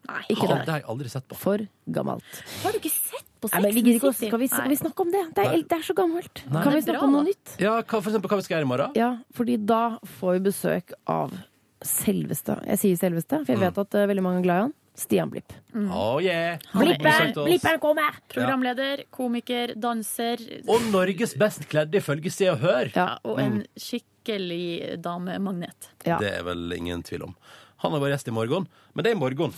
Speaker 3: Nei,
Speaker 5: ikke
Speaker 2: det.
Speaker 5: det.
Speaker 2: har jeg aldri sett på.
Speaker 5: For gammelt.
Speaker 3: Har du ikke sett på
Speaker 5: Nei, men vi gidder ikke å- skal, vi, skal vi snakke om det? Det er,
Speaker 2: Nei.
Speaker 5: det er så gammelt.
Speaker 2: Nei.
Speaker 5: Kan
Speaker 2: Det
Speaker 5: vi
Speaker 2: er
Speaker 5: snakke
Speaker 2: bra,
Speaker 5: om noe
Speaker 2: da.
Speaker 5: nytt?
Speaker 2: Ja, hva, for eksempel hva vi skal gjøre i morgen?
Speaker 5: Ja, fordi da får vi besøk av selveste Jeg sier selveste, for jeg
Speaker 2: Mm.
Speaker 5: vet at eh, veldig mange er glad i han. Stian Blipp.
Speaker 2: Oh yeah!
Speaker 3: Blippen,
Speaker 5: Blippen kommer!
Speaker 3: Programleder, komiker, danser.
Speaker 2: Og Norges best kledde ifølge Se og Hør.
Speaker 3: Og en skikkelig damemagnet.
Speaker 2: Det er vel ingen tvil om. Han er vår gjest i morgen, men det er i morgen.